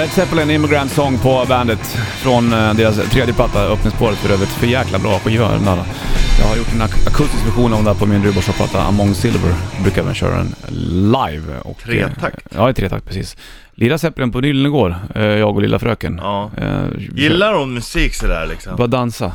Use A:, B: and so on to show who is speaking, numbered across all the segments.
A: Led Zeppelin, Immigrant Song på bandet från eh, deras tredje platta, öppningsspåret för övrigt. För jäkla bra skiva den där. Jag har gjort en ak- akustisk version av den där på min Ruborsson-platta Among Silver. Jag brukar även köra den live. Och,
B: Tretakt.
A: Eh, ja, i tretakt precis. Lirade Zeppelin på Nyllen igår, eh, jag och lilla fröken.
B: Ja.
A: Eh,
B: Gillar hon musik sådär liksom?
A: Bara dansa.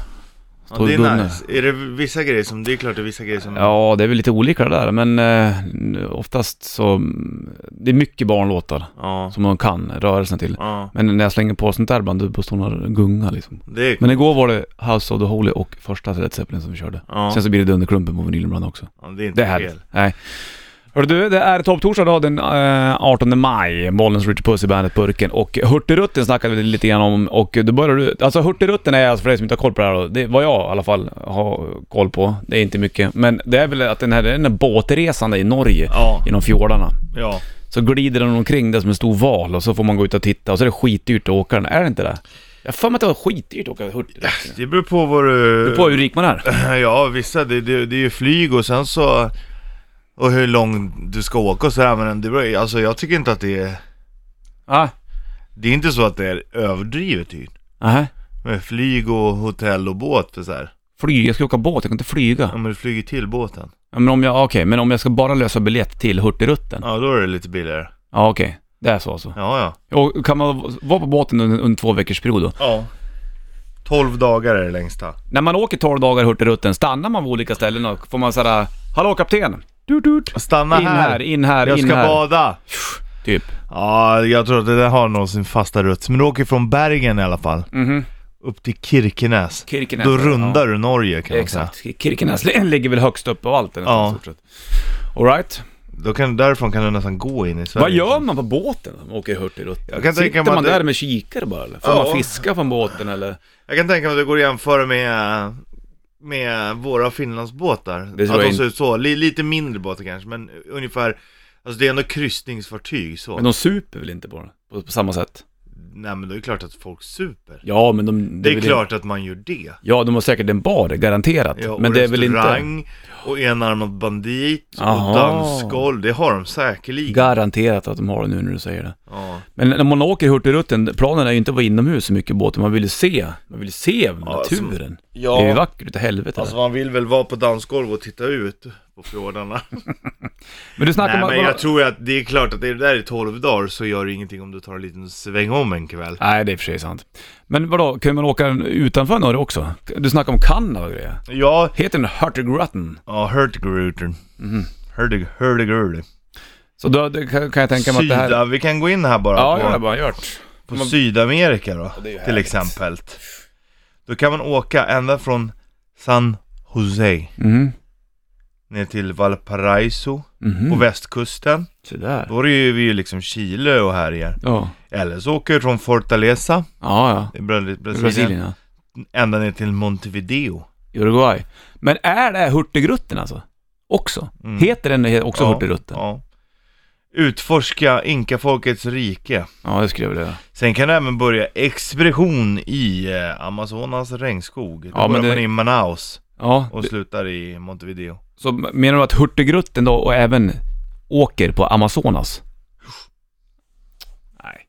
B: Ja,
A: Tog
B: det är
A: Gunnar.
B: nice. Är det vissa grejer som, det är klart det är vissa grejer som...
A: Ja, det är väl lite olika det där, men eh, oftast så... mm, Det är mycket barnlåtar
B: Ja.
A: som de kan rörelsen till.
B: ja.
A: Men när jag slänger på sånt där ibland, då påstår hon att gunga liksom.
B: Det är...
A: Men igår var det House of the Holy och första Led Zeppelin som vi körde.
B: Ja.
A: Sen så blir det Dunderklumpen på vinylen ibland också.
B: ja, det är
A: Det
B: inte
A: är härligt.
B: fel.
A: Nej. Hörru du, det är topptorsdag idag den eh, 18 maj. Bollens Richard Puss i bandet Burken och Hurtigruten snackade vi lite grann om och då börjar du... Alltså Hurtigruten är alltså för dig som inte har koll på det här då, det är vad jag i alla fall har koll på. Det är inte mycket, men det är väl att den här, den här båtresande i Norge,
B: Ja.
A: genom fjordarna.
B: Ja.
A: Så glider den omkring där som en stor val och så får man gå ut och titta och så är det skitdyrt att åka den. Är det inte det? Jag har för mig att det var skitdyrt att åka Hurtigruten.
B: Det beror på vad du...
A: På hur rik man är.
B: Ja, vissa. Det, det, det är ju flyg och sen så... Och hur långt du ska åka och sådär. Men det beror, alltså jag tycker inte att det är...
A: Ah.
B: Det är inte så att det är överdrivet dyrt.
A: Aha.
B: Med flyg och hotell och båt och så här.
A: Flyg, jag ska åka båt, jag kan inte flyga.
B: Ja men du flyger till båten.
A: Ja, Men om jag, okej, men om jag ska bara lösa biljett till Hurtigruten? Ja,
B: Ja då är det lite billigare.
A: okej. Det är så alltså.
B: Ja ja.
A: Och kan man vara på båten under, under två veckors period då?
B: Ja. 12 dagar är det längsta.
A: När man åker 12 dagar Hurtigruten, stannar man vid olika ställen och får man sådär Hallå kapten! Dut, dut.
B: Stanna
A: In här, in här,
B: jag
A: in
B: ska
A: här.
B: bada.
A: Typ.
B: Ja, jag tror att det där har nog sin fasta rutt. Men du åker från Bergen i alla fall.
A: Mhm.
B: Upp till Kirkenes.
A: Kirkenes.
B: Då rundar du Norge kan
A: ja,
B: man säga.
A: Exakt. Kirkenes ligger väl högst upp av allt.
B: Ja.
A: Ja. Alright.
B: Då kan, därifrån kan du nästan gå in i Sverige.
A: Vad gör man på båten när man åker Hurtigruten?
B: liksom. Jag kan
A: Sitter
B: tänka mig
A: man
B: att det-
A: där med kikare bara eller? Får
B: Ja.
A: man fiska från båten eller?
B: Jag kan tänka mig att det går att jämföra med, med våra Finlandsbåtar.
A: Det tror
B: att
A: jag
B: de ser ut så. Li, lite mindre båtar kanske, men ungefär. Alltså det är ändå kryssningsfartyg så.
A: Men de super väl inte bara på, på samma sätt?
B: Nej men det är klart att folk super.
A: Ja, men de...
B: Det är
A: väl-
B: klart att man gör det.
A: Ja, de har säkert en bar, garanterat.
B: Ja, och
A: men det är väl inte...
B: restaurang, och enarmad bandit
A: Aha.
B: och dansgolv, det har de säkerligen.
A: Garanterat att de har det nu när du säger det.
B: ja.
A: Men när man åker Hurtigruten, planen är ju inte att vara inomhus så mycket i båten. Man vill ju se, man vill ju se naturen.
B: alltså, ja.
A: Det är ju vackert utav helvete.
B: Alltså
A: där.
B: man vill väl vara på dansgolv och titta ut på fjordarna.
A: Men du snackar
B: Nej
A: om...
B: men jag tror ju att det är klart att det där är 12 dagar så gör det ingenting om du tar en liten sväng om en kväll.
A: Nej, det är i och för sig sant. Men vadå, kan man åka utanför Norge också? Du snackar om Kanada och grejer.
B: Ja,
A: Heter den Hurtigruten?
B: ja Hurtigruten.
A: Mhm.
B: Hurtig, hurtigruten.
A: Så då det kan kan jag tänka mig att det här...
B: Syda, vi kan gå in här bara
A: Ja,
B: på,
A: jag har bara gjort.
B: på Sydamerika då,
A: det är ju
B: till
A: härligt.
B: exempel. Då kan man åka ända från San Jose
A: Mhm,
B: ner till Valparaiso
A: mhm.
B: på västkusten.
A: Så där.
B: Då är det ju vi är ju liksom Chile och härjar.
A: Ja.
B: Eller så åker vi från Fortaleza
A: Ja,
B: i Bra-
A: ja.
B: Brasilien,
A: Brasilien, ja.
B: ända ner till Montevideo.
A: Uruguay. Men är det Hurtigruten alltså? Också?
B: Mm.
A: Heter den också Hurtigruten? Ja.
B: Ja. Utforska Inkafolkets rike.
A: det skulle jag vilja göra.
B: Sen kan du även börja expedition i eh, Amazonas regnskog. Då
A: Ja, men
B: börjar
A: det-
B: man i Manaus
A: Ja,
B: och slutar i Montevideo.
A: så menar du att Hurtigruten då och även åker på Amazonas? Nej.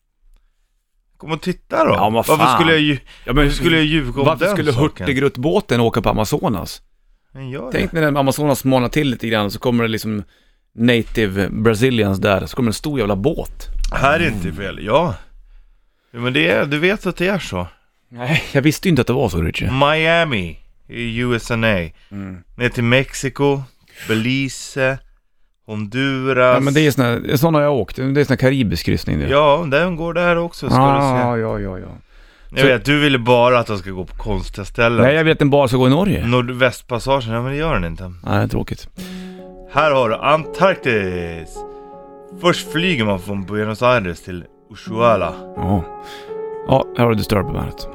B: Kom och titta då!
A: Ja, vad fan.
B: Varför skulle jag, lju-
A: Ja, men
B: varför skulle jag ljuga om
A: varför
B: den
A: skulle
B: saken?
A: Hurtigruttbåten åka på Amazonas?
B: Men gör det.
A: Tänk när den Amazonas smalnar till lite grann så kommer det liksom native Brazilians där, så kommer en stor jävla båt.
B: Här är
A: Mm.
B: inte fel, ja. ja men det är, du vet att det är så.
A: Nej, jag visste ju inte att det var så
B: Mm.
A: Richie.
B: Miami i USA.
A: Mm.
B: Ner till Mexiko, Belize, Honduras.
A: Ja, men det är såna, såna har jag åkt, det är såna karibisk kryssning det.
B: Ja, den går där också ska
A: ah, ja, ja, ja.
B: du se. Jag vet, du ville bara att de ska gå på konstiga ställen.
A: Nej, jag vet att den bara ska gå i Norge.
B: Nordvästpassagen, ja men det gör den inte.
A: Nej, det är tråkigt.
B: Här har du Antarktis. Först flyger man från Buenos Aires till Ushuaia.
A: Ja. Ja, här har du Disturbed på bandet.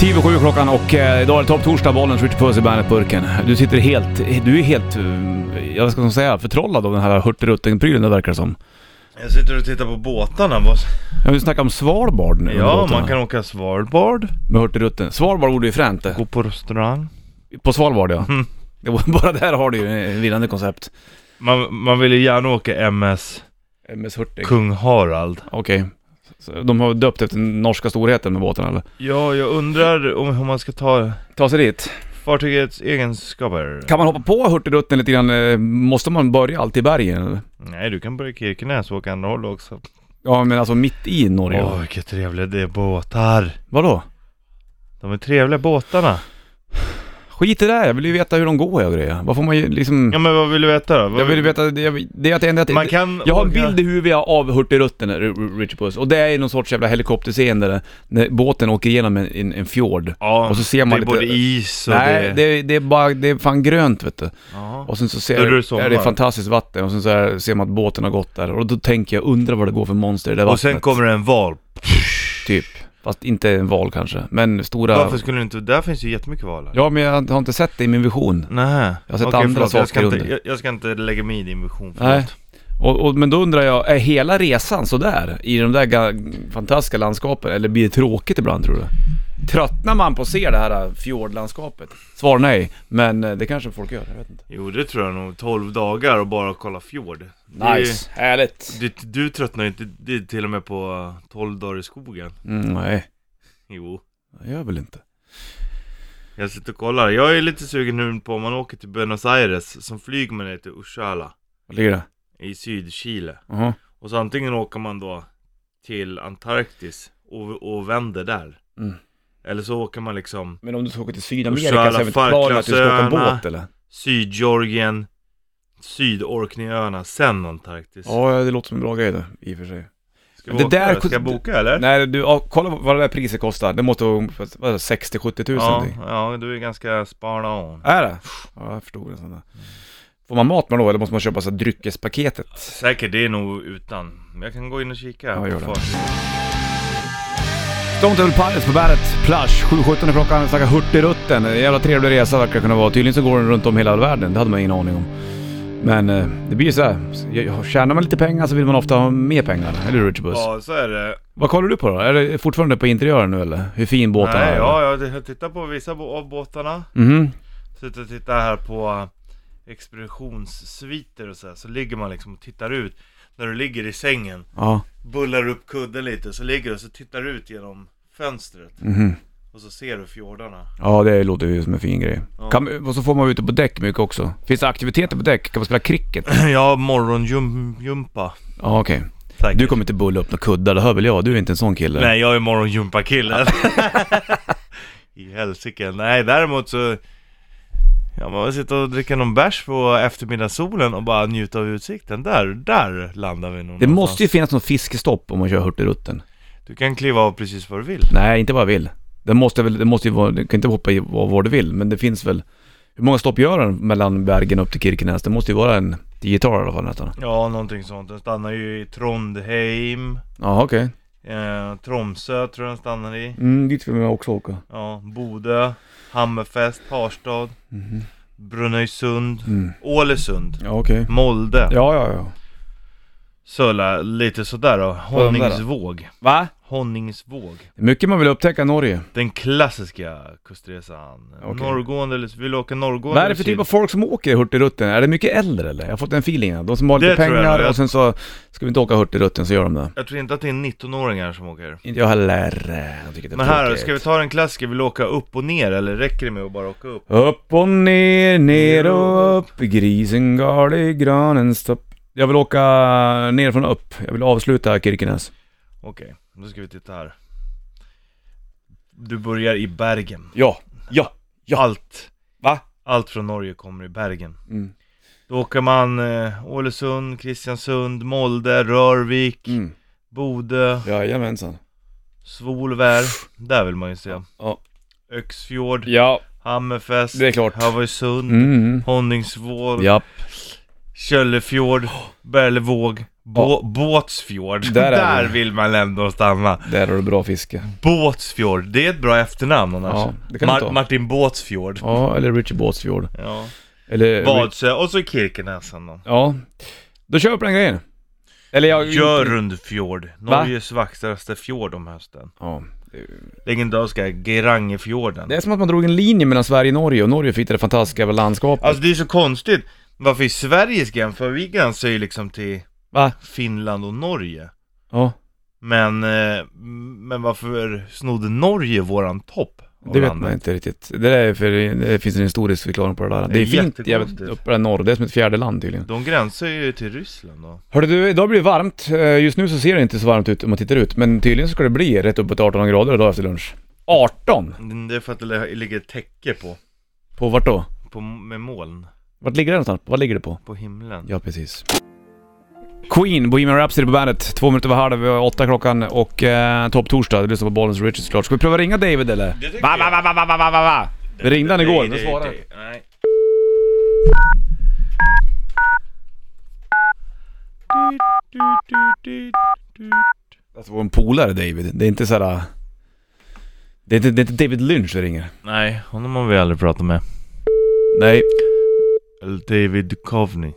A: 10 över sju klockan och eh, idag är det topp torsdag, bollen skjuter puss i Bandet-burken. Du sitter helt, du är helt, eh, jag ska säga, förtrollad av den här hurtigruten-prylen det verkar som.
B: Jag sitter och tittar på båtarna. vad-
A: Jag vill snacka om Svalbard nu. under
B: Ja,
A: låtarna,
B: man kan åka Svalbard,
A: Med hurtigruten. Svalbard vore ju fränt det.
B: gå på restaurang.
A: På Svalbard ja.
B: Mm.
A: Det var- Bara där har du ju en vinnande koncept.
B: Man, man vill ju gärna åka MS
A: Eh, Med Hurtig.
B: Kung Harald.
A: Okej. Så De har döpt efter den norska storheten med båten eller?
B: Ja, jag undrar om, om man ska ta
A: Ta sig dit.
B: fartygets egenskaper.
A: Kan man hoppa på Hurtigruten lite grann? eh, Måste man börja alltid i bergen eller?
B: Nej, du kan börja i Kirkenäs och åka andra hållet också.
A: Ja men alltså mitt i Norge.
B: Åh, vilka trevliga det är båtar.
A: Vadå?
B: De är trevliga båtarna.
A: Skit i det, här, jag vill ju veta hur de går och grejer. Vad får man ju liksom...
B: Ja, men vad vill du veta då? Vad-
A: Jag vill veta, det jag- det är att det enda att...
B: Man kan
A: Jag har en
B: åka-
A: bild i huvudet av Hurtigruten, R- R- Richard Puss, och det är någon sorts jävla helikopterscene där när båten åker igenom en, en, en fjord.
B: Ja,
A: och så ser man
B: det är
A: lite-
B: både is och
A: Nej, det... Det, är bara, det är fan grönt vet du.
B: Ja.
A: Och sen så ser
B: Då är det
A: är
B: sommar.
A: det fantastiskt vatten och sen så här ser man att båten har gått där och då tänker jag, undrar vad det går för monster i det där
B: Och sen
A: vattnet.
B: kommer det en val.
A: Typ. Fast inte en val kanske, men stora...
B: Varför skulle du inte... Där finns ju jättemycket valar.
A: Ja, men jag har inte sett det i min vision.
B: Nej.
A: Jag har sett
B: Okej,
A: andra
B: förlåt, jag ska,
A: saker
B: inte,
A: under.
B: jag, jag ska inte lägga mig i din vision, förlåt.
A: Nej. Och, och, men då undrar jag, är hela resan sådär? I de där ga- fantastiska landskapen? Eller blir det tråkigt ibland tror du? Tröttnar man på att se det här äh, fjordlandskapet? Svar nej, men eh, det kanske folk gör, jag vet inte.
B: Jo, det tror jag nog. 12 dagar och bara kolla fjord. Det-
A: Nice, härligt.
B: Du, du tröttnar inte det är till och med på 12 dagar i skogen.
A: Mm, nej,
B: Jo.
A: jag gör väl inte.
B: Jag sitter och kollar. Jag är lite sugen nu på om man åker till Buenos Aires, som flyger man ner till Ursala
A: Vad ligger det?
B: i Sydchile.
A: Jaha.
B: Och så antingen åker man då till Antarktis och, och vänder där.
A: Mm.
B: Eller så åker man liksom
A: Men om du ska åka till
B: Och så
A: Sydamerika
B: alla
A: så är det inte planen att du ska åka
B: Falklandsöarna.
A: båt eller?
B: Sydgeorgien, Sydorkneyöarna, sen Antarktis.
A: Ja, det låter som en bra grej det, i och för sig.
B: Ska,
A: det
B: vi åka,
A: där-
B: ska jag boka eller?
A: Nej, du, ja, kolla vad det där priset kostar. Det måste vara vad är det, 60-70 tusen
B: ja,
A: någonting.
B: ja, du är ganska spot on.
A: Är det? Ja, jag förstod det. Sådana. Får man mat med då eller måste man köpa så här dryckespaketet?
B: Säkert, det är nog utan. Men jag kan gå in och kika.
A: Ja,
B: på
A: gör det.
B: fartyget.
A: Stone Temple Pilots på bandet, Plush, 7.17 är klockan, snackar Hurtigruten. En jävla trevlig resa verkar det kunna vara. Tydligen så går den runt om hela världen, det hade man ingen aning om. Men eh, det blir ju så här. Jag- tjänar man lite pengar så vill man ofta ha mer pengar, eller hur Richard Buss?
B: Ja, så är det.
A: Vad kollar du på då? Är det fortfarande på interiören nu eller? Hur fin båten är?
B: Nej,
A: eller?
B: ja, jag tittar på vissa bo- av båtarna.
A: Mhm.
B: Sitter och tittar här på expeditionssviter och så här. Så ligger man liksom och tittar ut. När du ligger i sängen,
A: Ja.
B: bullar upp kudden lite, så ligger du och så tittar du ut genom fönstret.
A: Mhm.
B: Och så ser du fjordarna.
A: Ja, det låter ju som en fin grej.
B: Ja.
A: Kan, och så får man vara ute på däck mycket också. Finns det aktiviteter på däck? Kan man spela cricket?
B: Ja, morgonjumpa.
A: Ja, okej.
B: Tack.
A: Du kommer inte bulla upp några kuddar, det hör väl jag? Du är inte en sån kille.
B: Nej, jag är morgonjumpakillen. I helsike. Nej, däremot så... Ja, man sitter och dricka någon bärs på eftermiddagssolen och bara njuta av utsikten. Där, där landar vi nog
A: Det
B: någonstans.
A: måste ju finnas något fiskestopp om man kör Hurtigruten.
B: Du kan kliva av precis vad du vill.
A: Nej, inte vad jag vill. Det måste väl, det måste ju vara, du kan inte hoppa i var var du vill, men det finns väl... Hur många stopp gör den mellan Bergen upp till Kirkenes? Det måste ju vara en tiotal i alla fall nästan.
B: Ja, någonting sånt. Den stannar ju i Trondheim.
A: Ja, okej.
B: Eh, Tromsö tror jag den stannar i.
A: Mm, dit vill man också åka.
B: Ja, Bodö. Hammerfest, Harstad. Brunöjsund.
A: Mhm. Mm.
B: Ålesund.
A: Ja, okej.
B: Molde.
A: Ja, ja, ja.
B: Söla, lite sådär då.
A: där då?
B: Honningsvåg.
A: Va?
B: Honningsvåg.
A: Det är mycket man vill upptäcka i Norge.
B: Den klassiska kustresan.
A: Okej.
B: Norrgående eller vill du åka norrgående?
A: Vad är det
B: eller
A: för
B: syd?
A: typ av folk som åker Hurtigruten? Är det mycket äldre eller? Jag har fått en feeling här. De som har lite
B: Det tror jag,
A: pengar
B: jag-
A: och sen så ska vi inte åka Hurtigruten så gör de det.
B: Jag tror inte att det är 19-åringar som åker.
A: Inte jag heller. Jag tycker det är
B: Men här,
A: tråkigt.
B: ska vi ta den klassiska? Vill du åka upp och ner eller räcker det med att bara åka upp?
A: Upp och ner, ner och upp, grisen gal i granen stopp. Jag vill åka ner från upp. Jag vill avsluta Kirkenes.
B: Okej, då ska vi titta här. Du börjar i Bergen.
A: Ja, ja, Ja.
B: Allt,
A: va?
B: allt från Norge kommer i Bergen.
A: Mm.
B: Då åker man eh, Ålesund, Kristiansund, Molde, Rörvik,
A: Mm.
B: Bodö,
A: Jajamensan.
B: Svolvär. Där vill man ju se.
A: Ja.
B: Öxfjord,
A: Ja,
B: Hammerfest,
A: det är klart.
B: Havörsund,
A: Mm.
B: Honningsvåg,
A: Ja,
B: Köllefjord, Berlevåg, Bå- Båtsfjord.
A: Där
B: Där,
A: är vi.
B: vill man ändå stanna.
A: där har du bra fiske.
B: Båtsfjord, det är ett bra efternamn annars.
A: Ja, det kan du ta.
B: Martin Båtsfjord.
A: Ja, eller Richie Båtsfjord.
B: Ja.
A: Eller...
B: Vadsö och så Kirkenäsen då.
A: Ja. Då kör vi på den grejen. Eller jag...
B: Jörundfjord, Norges vackraste fjord om hösten.
A: Ja.
B: Legendariska Gerangefjorden.
A: Det är som att man drog en linje mellan Sverige och Norge och Norge fick det fantastiska landskapet.
B: Alltså det är så konstigt, varför i Sverige ska jämföra? Vi gränsar ju liksom till
A: Va?
B: Finland och Norge.
A: Ja.
B: Men, eh, men varför snodde Norge våran topp? av
A: Det vet
B: landet?
A: man inte riktigt. Det, där är för, det finns en historisk förklaring på det där. Det
B: Det
A: är
B: är
A: fint
B: jättekonstigt.
A: jävligt uppe där norr. Det är som ett fjärde land tydligen.
B: De gränsar ju till Ryssland då.
A: Hörru du, idag blir det varmt. Eh, Just nu så ser det inte så varmt ut om man tittar ut. Men tydligen så ska det bli rätt uppåt 18 grader idag efter lunch. 18?
B: Det är för att det ligger ett täcke på,
A: På vart då?
B: på med moln,
A: Vart ligger det någonstans? Vad ligger det på?
B: på himlen.
A: Ja, precis. Queen, Bohemian Rhapsody på bandet. Två minuter över halv åtta klockan och eh, topp torsdag. Du lyssnar på Bollens Richard såklart. Ska vi pröva ringa David eller?
B: Det tycker
A: Va, va, va, va, va, va, va, va. Det ringde han igår, men
B: Nej,
A: svarade
B: det- Nej.
A: Alltså vår polare David. Det är inte såhär... Det är inte, det är inte David Lynch som ringer.
B: Nej, honom har vi aldrig pratat med.
A: Nej.
B: Eller David Duchovny.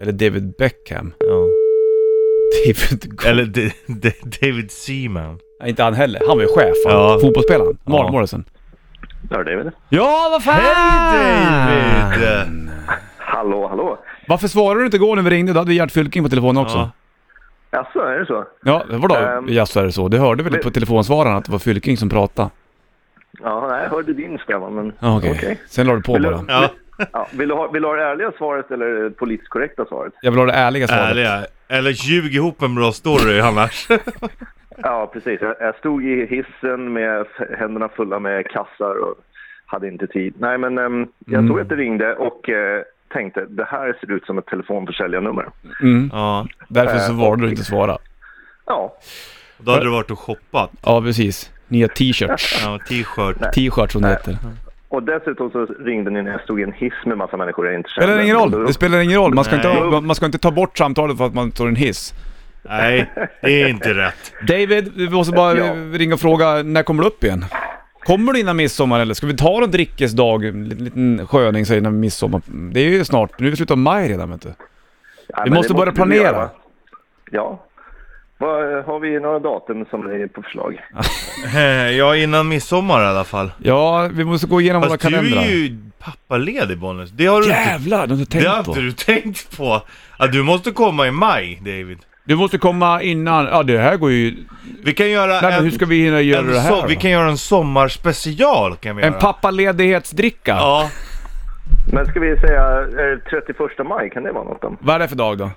A: Eller David Beckham.
B: Ja.
A: David...
B: Eller D- D- David Seaman.
A: Nej, inte han heller. Han var ju chef. Han.
B: Ja.
A: Fotbollsspelaren.
B: Ja.
A: Mark Morrison.
C: Ja, David.
A: Ja, vad fan!
B: Hej David!
C: Hallå, hallå.
A: Varför svarade du inte igår när vi ringde? Då hade vi Gert Fylking på telefonen också.
B: Ja.
C: Jaså, är det så?
A: Ja, vadå?
C: Ehm,
A: Jaså är det så? Du hörde väl
C: men-
A: på telefonsvararen att det var Fylking som pratade?
C: Ja, nej, jag hörde din skrämma, men
A: Ja,
B: Ah,
A: okej. Sen la du på
C: Vill du-
A: bara.
B: Ja,
C: Ja, vill, du ha, vill du ha det ärliga svaret eller det politiskt korrekta svaret?
A: Jag vill ha det ärliga svaret.
B: ärliga. Eller ljug ihop en bra story annars.
A: Mm.
C: Ja, precis. Jag, jag stod i hissen med f- händerna fulla med kassar och hade inte tid. Nej, men ehm, jag
A: Mm.
C: såg att det ringde och eh, tänkte det här ser ut som ett telefonförsäljarnummer.
A: Mm.
B: Ja.
A: Därför
C: Ehm,
A: så valde du inte att svara.
C: Ja,
B: Då hade du varit och shoppat.
A: Ja, precis. Nya t-shirts.
B: Ja, t-shirt.
A: T-shirts som det heter.
C: och dessutom så ringde ni när jag stod i en hiss med massa människor jag inte kände.
A: Spelar ingen roll. Det spelar ingen roll. Man ska, inte,
B: Nej.
A: man- man ska inte ta bort samtalet för att man står i en hiss.
B: Nej, det är inte rätt.
A: David, vi måste bara
C: Ja.
A: ringa och fråga, när kommer du upp igen? Kommer du innan midsommar eller ska vi ta en drickesdag, en liten sköning så innan midsommar? Det är ju snart, nu är det slutet av maj redan vet du.
C: Ja,
A: Vi
C: men
A: måste
C: det
A: börja
C: vi
A: planera.
C: göra. Ja. Vad- Har vi några datum som är på förslag?
B: Eh, Ja, innan midsommar i alla fall.
A: Ja, vi måste gå igenom
B: Fast
A: våra
B: du
A: kalendrar.
B: är ju pappaledig Bonus. Det har du inte,
A: Jävlar, det har du inte
B: det har
A: tänkt
B: inte
A: på.
B: du tänkt på. Att du måste komma i maj, David.
A: Du måste komma innan, ja det här går ju...
B: Vi kan göra
A: Nej men
B: en...
A: hur ska vi hinna göra
B: en
A: det
B: so-
A: här
B: Vi
A: då?
B: kan göra en sommarspecial kan vi
A: En
B: göra.
A: pappaledighetsdricka?
B: Ja.
C: Men ska vi säga eh, 31 maj, kan det vara något? Då?
A: Vad är det för dag då?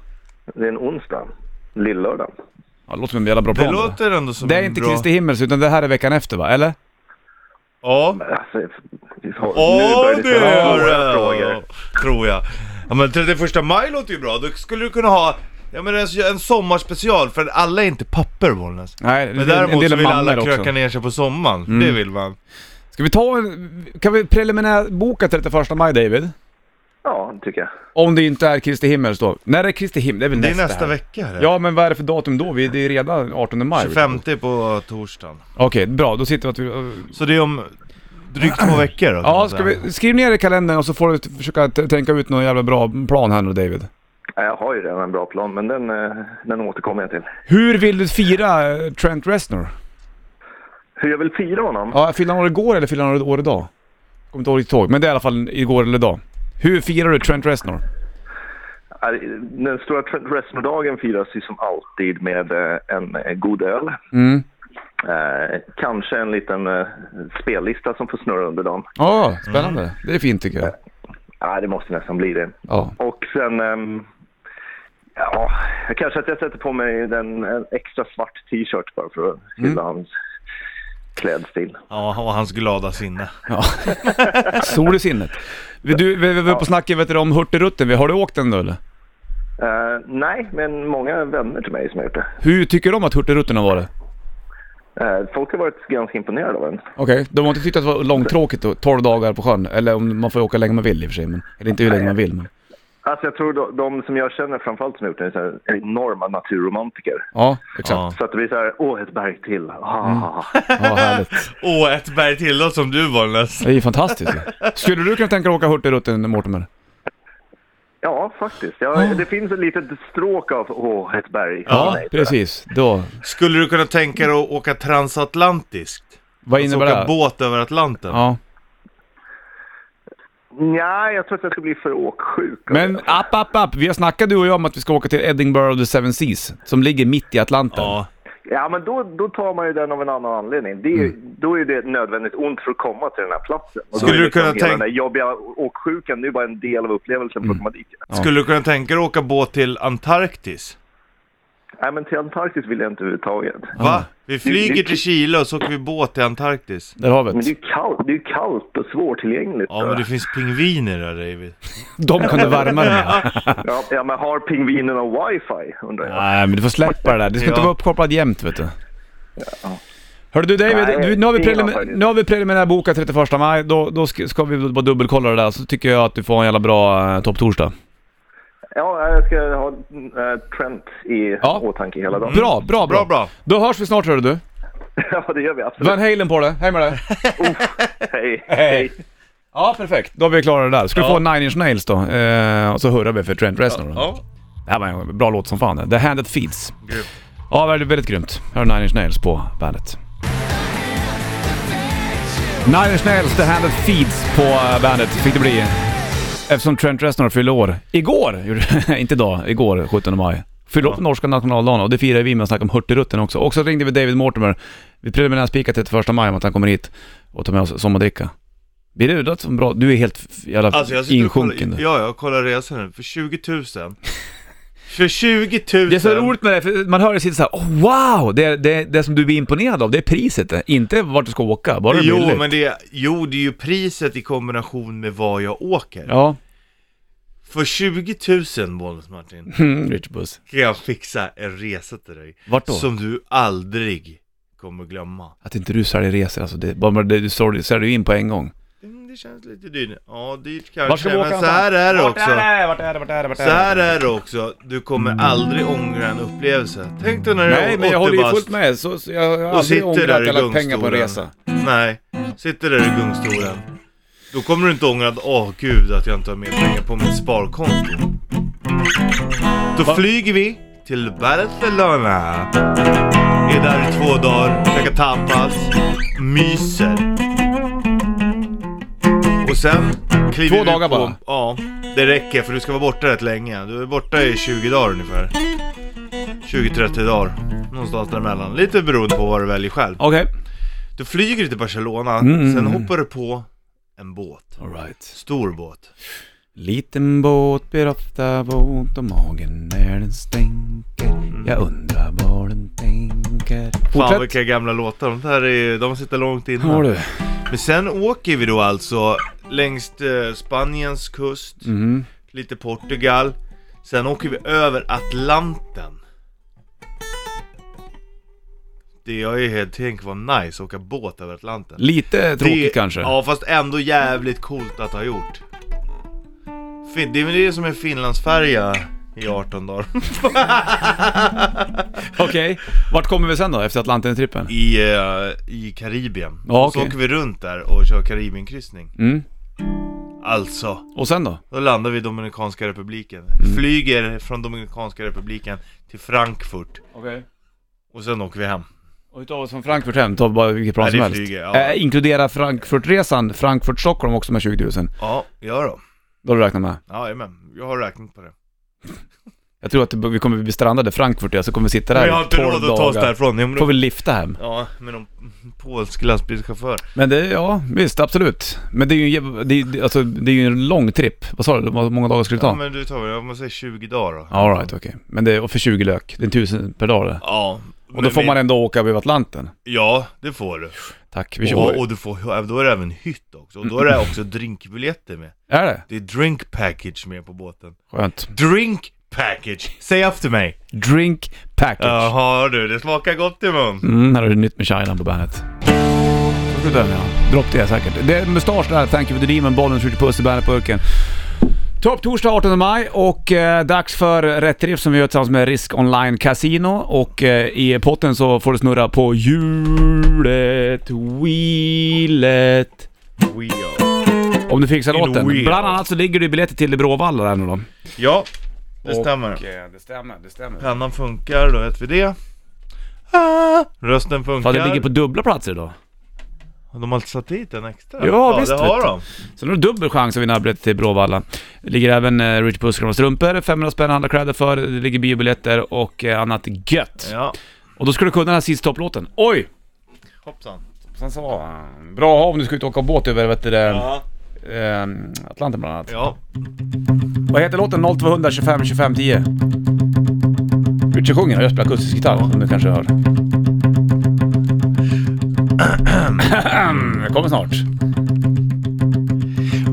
C: Det är en onsdag. Lillördag.
A: Ja, det låter som en jävla bra
B: Det
A: plan.
B: låter ändå som
A: det är
B: en
A: inte
B: bra...
A: Kristi himmels utan det här är veckan efter va, eller?
B: Ja.
C: Alltså, vi har,
B: Ja, det
C: ställa
B: gör
C: svåra
B: det.
C: frågor.
B: Tror jag. Ja men 31 maj låter ju bra. Då skulle du kunna ha... Ja men en, en sommarspecial, för alla är inte papper Bollnäs.
A: Nej, det är
B: Men
A: en- en
B: däremot
A: del
B: så
A: är
B: vill alla
A: mammor också. Mm.
B: kröka ner sig på sommaren. Det vill man.
A: Ska vi ta en... Kan vi preliminärboka 31 maj David?
C: Ja, det tycker jag.
A: Om det inte är Kristi himmels då. När är Kristi himmel? Det är väl
B: Det är
A: nästa,
B: nästa
A: här.
B: vecka eller?
A: Ja, men vad är det för datum då? Vi, det är redan 18 maj.
B: 25 på torsdagen.
A: Okej, bra. Då sitter vi att vi...
B: Så det är om drygt två veckor då? kan
A: Ja,
B: man
A: ska
B: säga.
A: vi... Skriv ner i kalendern och så får du t- försöka t- tänka ut någon jävla bra plan här nu David.
C: Ja, Jag har ju redan en bra plan, men den, eh, den återkommer jag till.
A: Hur vill du fira eh, Trent Reznor?
C: Hur jag vill fira honom?
A: Ja, fyllde han år igår eller fyllde han år idag? Kommer inte riktigt ihåg, men det är i alla fall igår eller idag. Hur firar du Trent Reznor?
C: Eh, Den stora wrestlingdagen firas ju som alltid med eh, en eh, god öl.
A: Mm.
C: Eh, kanske en liten eh, spellista som får snurra under dagen.
A: Ja, spännande. Mm. Det är fint tycker jag.
C: Nej, det måste nästan bli det.
A: Ja.
C: Och sen... ehm, ja, kanske att jag sätter på mig den, en extra svart t-shirt bara för att
A: Mm.
C: hylla hans klädstil.
B: Ja, och hans glada sinne.
A: ja. Sol i sinnet. Vi- Du, vi vi var på snacket vet du, om Hurtigruten. Vi- Har du åkt den nu eller?
C: Eh, nej, men många vänner till mig som har gjort det.
A: Hur tycker de att Hurtigruten har varit?
C: Eh, folk har varit ganska imponerade av den.
A: Okej, de har inte tyckt att det var långtråkigt då, 12 dagar på sjön. Eller om man får åka hur länge man vill i och för sig. Men, eller inte hur länge man vill men.
C: Alltså jag tror de, de som jag känner framförallt som har gjort det är så här enorma naturromantiker.
A: Ja, exakt. Ja,
B: Ja.
C: Så att det blir så här, åh ett berg till. Ah.
A: Mm. härligt.
B: Åh, ett berg till då som du Bollnäs.
A: Det är ju fantastiskt ju. Skulle du kunna tänka dig att åka Hurtigruten, Mortimer?
C: Ja, faktiskt. Ja, Det finns ett litet stråk av åh ett berg.
A: Ja,
C: Nej,
A: precis. Då,
B: Skulle du kunna tänka dig att åka transatlantiskt?
A: vad
B: Alltså
A: innebär
B: åka
A: det?
B: båt över Atlanten?
A: Ja.
C: Nej, jag tror att jag skulle bli för åksjuk. av
A: Men
C: det.
A: app, app, app. Vi har snackat du och jag om att vi ska åka till Edinburgh of the Seven Seas, som ligger mitt i Atlanten.
B: Ja.
C: Ja, men då, då tar man ju den av en annan anledning. Det är, ju- Då är det ett nödvändigt ont för att komma till den här platsen. Och
B: Mm. Skulle
C: då är
B: du
C: liksom
B: kunna
C: hela
B: tänk- Mm.
C: Den där jobbiga åksjukan, nu bara en del av upplevelsen för att komma dit.
B: Skulle du kunna tänka dig att åka båt till Antarktis?
C: Nej, men till Antarktis vill jag inte överhuvudtaget.
B: Va? Vi flyger till Chile och så åker vi båt till Antarktis.
A: Där har vi
C: Men det är
A: det.
C: ju kallt, det är ju kallt och svårtillgängligt.
B: Ja, men det finns pingviner där David.
A: De kan du värma dig med.
C: ja, ja, men har pingvinerna wifi, undrar jag.
A: Nej, men du får släppa det där. Du ska inte
B: Ja.
A: vara uppkopplad jämt, vet du. Hörru du David,
C: Nej,
A: du, nu, har vi
C: ingen
A: prelim-
C: faktiskt.
A: nu har vi preliminär bokat 31 maj. Då, då ska, ska vi bara dubbelkolla det där, så tycker jag att du får en jävla bra eh, topptorsdag.
C: Ja, jag ska ha eh, Trent i
A: Ja.
C: åtanke hela dagen.
A: Bra, bra, bra.
B: Bra, bra.
A: Då hörs vi snart hörru du.
C: ja, det gör vi absolut.
A: Van Halen på dig, hej med dig.
C: Hej.
A: Hej. Ja, perfekt. Då har vi klarat det där. Ska du
B: Ja.
A: få Nine Inch Nails då, eh, och så hurrar vi för Trent Reznor. då.
B: Ja,
A: Det här var en bra låt som fan. det. The Hand That Feeds.
B: grymt.
A: Ja, väldigt, väldigt grymt. Här har Nine Inch Nails på bandet. Nine Inch Nails, The Hand That Feeds på eh, bandet fick det bli. Eftersom Trent Reznor fyllde år. Igår! gjorde- inte idag, igår 17 maj. Fyllde upp norska nationaldagen och det firar vi med att snacka om Hurtigruten också. Och så ringde vi David Mortimer. Vi preliminärt spikat till 1 maj om att han kommer hit och tar med oss sommardricka. Blir du det som bra? Du är helt f- jävla
B: Alltså jag sitter och
A: insjunken. du.
B: kollar, ja, jag kollar resan nu. För 20 000. För 20 000!
A: Det är så roligt med det, för man hör det sitta såhär oh, wow! Det, det, det som du blir imponerad av, det är priset det. Inte vart du ska åka, bara det är
B: Jo,
A: billigt.
B: men det, är- jo, det är ju priset i kombination med vad jag åker.
A: Ja,
B: För 20 000 Bonus Martin,
A: mm, Rich Buss.
B: kan jag fixa en resa till dig.
A: Vart då?
B: Som du aldrig kommer glömma.
A: Att inte du säljer resor alltså, det, bara det du står, det säljer du in på en gång.
B: Mm, Det känns lite dyrt. Ja, dyrt
A: Vart ska
B: kanske,
A: vi åka
B: men så här är det också.
A: Vart är det? Vart är det? Vart är det? Vart
B: Så här är det också, du kommer aldrig ångra en upplevelse. Tänk dig när du
A: Nej,
B: är
A: men jag håller ju
B: 80
A: fullt
B: bast
A: med. Så, så jag har
B: och
A: aldrig
B: sitter
A: ångrat
B: där
A: att
B: i
A: jag lagt pengar på en
B: gungstolen.
A: resa.
B: Nej, sitter där i gungstolen. Då kommer du inte ångra att, åh gud, att jag inte har mer pengar på mitt sparkonto. Då flyger vi till Barcelona. Är där i två dagar, käkar tapas, myser. Och sen kliver
A: Två
B: vi
A: dagar
B: på,
A: bara?
B: Ja, det räcker för du ska vara borta rätt länge. Du är borta i 20 dagar ungefär. 20-30 dagar. Någonstans däremellan. Lite beroende på vad du väljer själv.
A: Okej.
B: Du flyger till Barcelona,
A: Mm.
B: sen hoppar du på en båt.
A: Alright.
B: Stor båt.
A: Liten båt blir ofta våt och magen när den stänker. Jag undrar vad den tänker.
B: Fan
A: Fortsätt.
B: vilka gamla låtar, de där är, de sitter långt
A: Har
B: inne.
A: du?
B: Men sen åker vi då alltså längs eh, Spaniens kust,
A: Mm.
B: lite Portugal. Sen åker vi över Atlanten. Det jag är helt tänk vad nice, åka båt över Atlanten.
A: Lite tråkigt
B: Det-
A: kanske.
B: Ja, fast ändå jävligt coolt att ha gjort. Fin, det är väl det som är Finlandsfärja i 18 dagar.
A: Okej, vart kommer vi sen då efter Atlanten-trippen?
B: I, eh, I Karibien.
A: Ja,
B: Så
A: okej.
B: åker vi runt där och kör Karibienkryssning.
A: Mm.
B: Alltså,
A: Och sen då?
B: då landar vi i Dominikanska republiken.
A: Mm.
B: Flyger från Dominikanska republiken till Frankfurt.
A: Okej.
B: Och sen åker vi hem.
A: Och utav oss från Frankfurt hem, ta bara vilket plan
B: Nej,
A: som
B: det
A: helst.
B: flyger, ja.
A: Eh, inkludera Frankfurtresan, Frankfurt-Stockholm också med 20 000.
B: Ja, ja då.
A: Då har du räknat med.
B: Jajamän, jag har räknat på det.
A: Jag tror att det- vi kommer bli strandade i Frankfurt, ja, så kommer vi sitta där
B: Men jag har inte
A: i 12
B: råd att ta oss
A: dagar.
B: därifrån. Jag
A: Får
B: får
A: vi lifta hem.
B: Ja, med någon polsk lastbilschaufför.
A: Men det, ja visst, absolut. Men det är ju, en jäv- det är, det- alltså, det är ju en lång tripp. Vad sa du, hur många dagar skulle det
B: Ja,
A: ta?
B: men du tar väl, jag måste säga 20 dagar då.
A: All right, okej. Men det, och för 20 lök, det är 1000 per dag det.
B: Ja.
A: Och då får man ändå åka över Atlanten.
B: Ja, det får du.
A: Tack, vi kör.
B: Och, och du får, då är det även hytt också. Och då är det också drinkbiljetter med.
A: Är det?
B: Det är drink package med på båten.
A: Skönt.
B: Drink package! Säg efter mig!
A: Drink package.
B: Jaha du, det smakar gott i mun.
A: Mm, här är det nytt med China på bandet. Så slutar den ja. Dropp det säkert. Det är mustasch där, Thank you for the demon, bollen skjuter puss i bandet-burken. Topp torsdag 18 maj och eh, dags för Rätt Drift som vi gör tillsammans med Risk Online Casino och eh, i potten så får du snurra på hjulet, wheelet.
B: We are.
A: Om du fixar
B: In
A: låten.
B: wheel.
A: Bland annat så ligger det biljetter till Bråvalla där nu då.
B: Ja, det stämmer.
A: det stämmer, det stämmer.
B: Pennan funkar, då vet vi det. Ah, rösten funkar.
A: Fan, det ligger på dubbla platser idag.
B: Har de alltid satt dit en extra?
A: Ja, visst,
B: det
A: vet
B: har
A: du.
B: de.
A: Så nu har du dubbel chans att vinna biljetter till Bråvalla. Det ligger även eh, Rich Puss gamla strumpor, 500 spänn att handla kläder för, det ligger biobiljetter och eh, annat gött.
B: Ja,
A: Och då ska du kunna den här sista topplåten. Oj!
B: hoppsan.
A: Sen så, eh, bra att ha om du ska ut och åka båt över vet du, det,
B: Ja,
A: eh, Atlanten bland annat.
B: ja.
A: Vad heter låten 0200 25 25 10? Richard sjunger och jag spelar akustisk gitarr, som du kanske hör. Det kommer snart.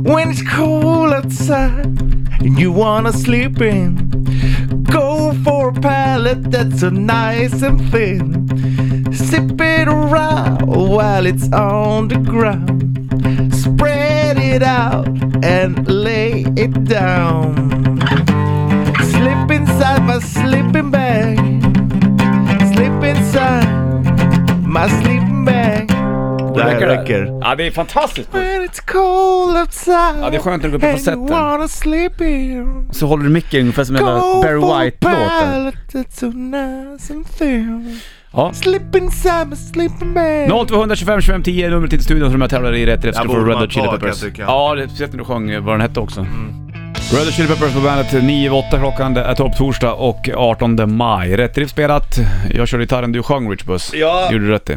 B: When it's cold outside and you wanna sleep in, go for a pallet that's so nice and thin. Sip it around while it's on the ground. Spread it out and lay it down. Slip inside my sleeping bag. Slip inside my sleeping bag. Det här räcker.
A: Ja, det är fantastiskt.
B: When it's cold outside
A: Ja, det är skönt när du går på
B: and
A: falsetten.
B: you wanna sleep in.
A: Så håller du micken ungefär som en
B: Go
A: jävla Barry
B: for
A: White-låten.
B: pallet that's so nice and thin.
A: Ja.
B: Slip inside my sleeping bag.
A: 0225 25 10 är numret till studion som jag tävlar i rätt rätt skulle
B: Där
A: få
B: borde
A: Red
B: man
A: Hot Chili
B: ta, kan
A: Peppers.
B: jag Mm. tycka.
A: Ja, det sett när du sjöng eh, vad den hette också. Red Hot Chili Peppers på bandet 9 över 8 klockan. Det är topptorsdag och 18 maj. Rätt drift spelat. Jag körde gitarren, du sjöng Rich Buss.
B: Ja.
A: gjorde du rätt i.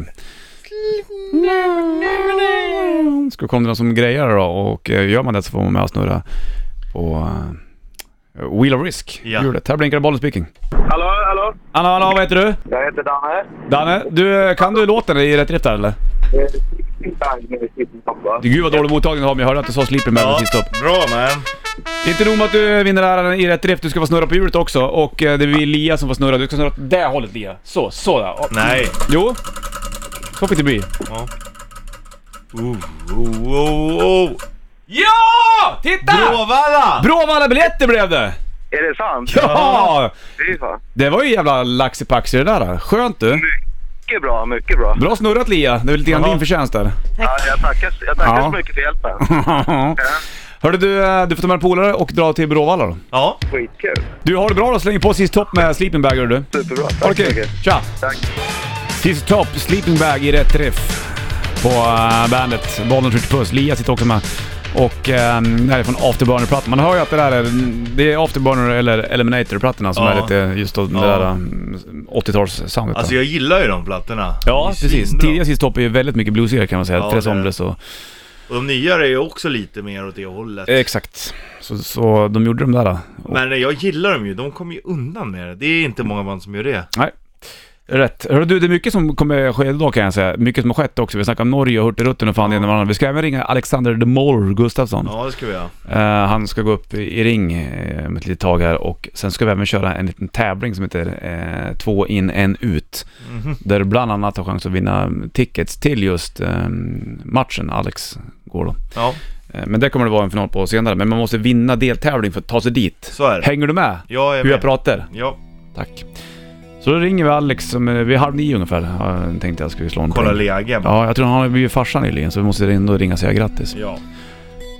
A: Ska vi kolla om det är någon som grejar då och eh, gör man det så får man med och snurra på eh, Wheel of Risk.
B: Ja.
A: Hjulet. Här blinkar det, bollen speaking.
D: Hallå, hallå.
A: Anna, Anna, vad heter du?
D: Jag heter Danne.
A: Danne, du, kan du låten i rätt drift där eller?
D: Eh, Bang med sitt pappa.
A: Gud vad dålig mottagning du har men jag hörde att du sa Sleeper Man
B: Ja,
A: sist upp.
B: Bra man.
A: Inte nog med att du vinner äran i rätt drift, du ska få snurra på hjulet också. Och eh, det blir Lia som får snurra. Du ska snurra åt det hållet Lia. Så, så där. Och-
B: Nej.
A: Jo. Så fick det bli.
B: Ja. Oh, oh, oh, oh.
A: Ja! Titta!
B: Bråvalla!
A: Bråvalla biljetter blev det!
D: Är det sant?
A: Ja!
D: Fy fan.
A: Det var ju jävla laxipaxi det där. Skönt du.
D: Mycket bra, mycket bra.
A: Bra snurrat Lia. Det är lite grann din förtjänst där.
D: Ja, jag tackar, jag tackar
A: Ja.
D: så mycket för hjälpen.
A: Hörde du, eh, du får ta med en polare och dra till Bråvalla då.
B: Ja.
D: Skitkul.
A: Du, har det bra då. Släng på sist topp med Sleeping Bag gör du.
D: Superbra. Tack
A: Okej,
D: så mycket.
A: tja!
D: Tack.
A: Sist topp, Sleeping Bag i rätt riff på uh, bandet. Bollen skjuter puss. Lia sitter också med. Och um, det här är från Afterburner-plattan. Man hör ju att det där är, det är Afterburner eller Eliminator-plattorna som
B: Ja.
A: är lite just då, det
B: Ja.
A: där um, 80-tals-soundet.
B: Alltså
A: då.
B: jag gillar ju de plattorna.
A: ja,
B: Det är
A: precis.
B: svinbra.
A: Tidiga Sist topp är ju väldigt mycket bluesigare kan man säga.
B: Ja,
A: Tres
B: det är det.
A: Hombres och...
B: Och de nyare är ju också lite mer åt det hållet.
A: Eh. Exakt. Så, så de gjorde de där. då. Och,
B: Men jag gillar dem ju, de kommer ju undan med det. Det är inte många band som gör det.
A: Nej. Rätt. Hörru du, det är mycket som kommer ske idag kan jag säga. Mycket som har skett också. Vi snackar om Norge och Hurtigruten och fan det ena med det andra. Vi ska även ringa Alexander de Mol Gustafsson.
B: Ja, det ska vi göra.
A: Eh, han ska gå upp i i ring eh, om ett litet tag här och sen ska vi även köra en liten tävling som heter eh, Två in, en ut.
B: Mhm.
A: Där du bland annat har chans att vinna tickets till just eh, matchen Alex går då.
B: Ja,
A: Eh, men det kommer det vara en final på senare. Men man måste vinna deltävling för att ta sig dit.
B: så är det.
A: Hänger du med?
B: Jag är
A: Hur jag
B: med.
A: pratar?
B: Ja,
A: Tack. Så då ringer vi Alex som, eh, vid halv nio ungefär. Ja, tänkte jag skulle slå en
B: kolla
A: pling.
B: lägen.
A: Ja, jag tror han har blivit farsa nyligen så vi måste ändå ringa och säga grattis.
B: Ja.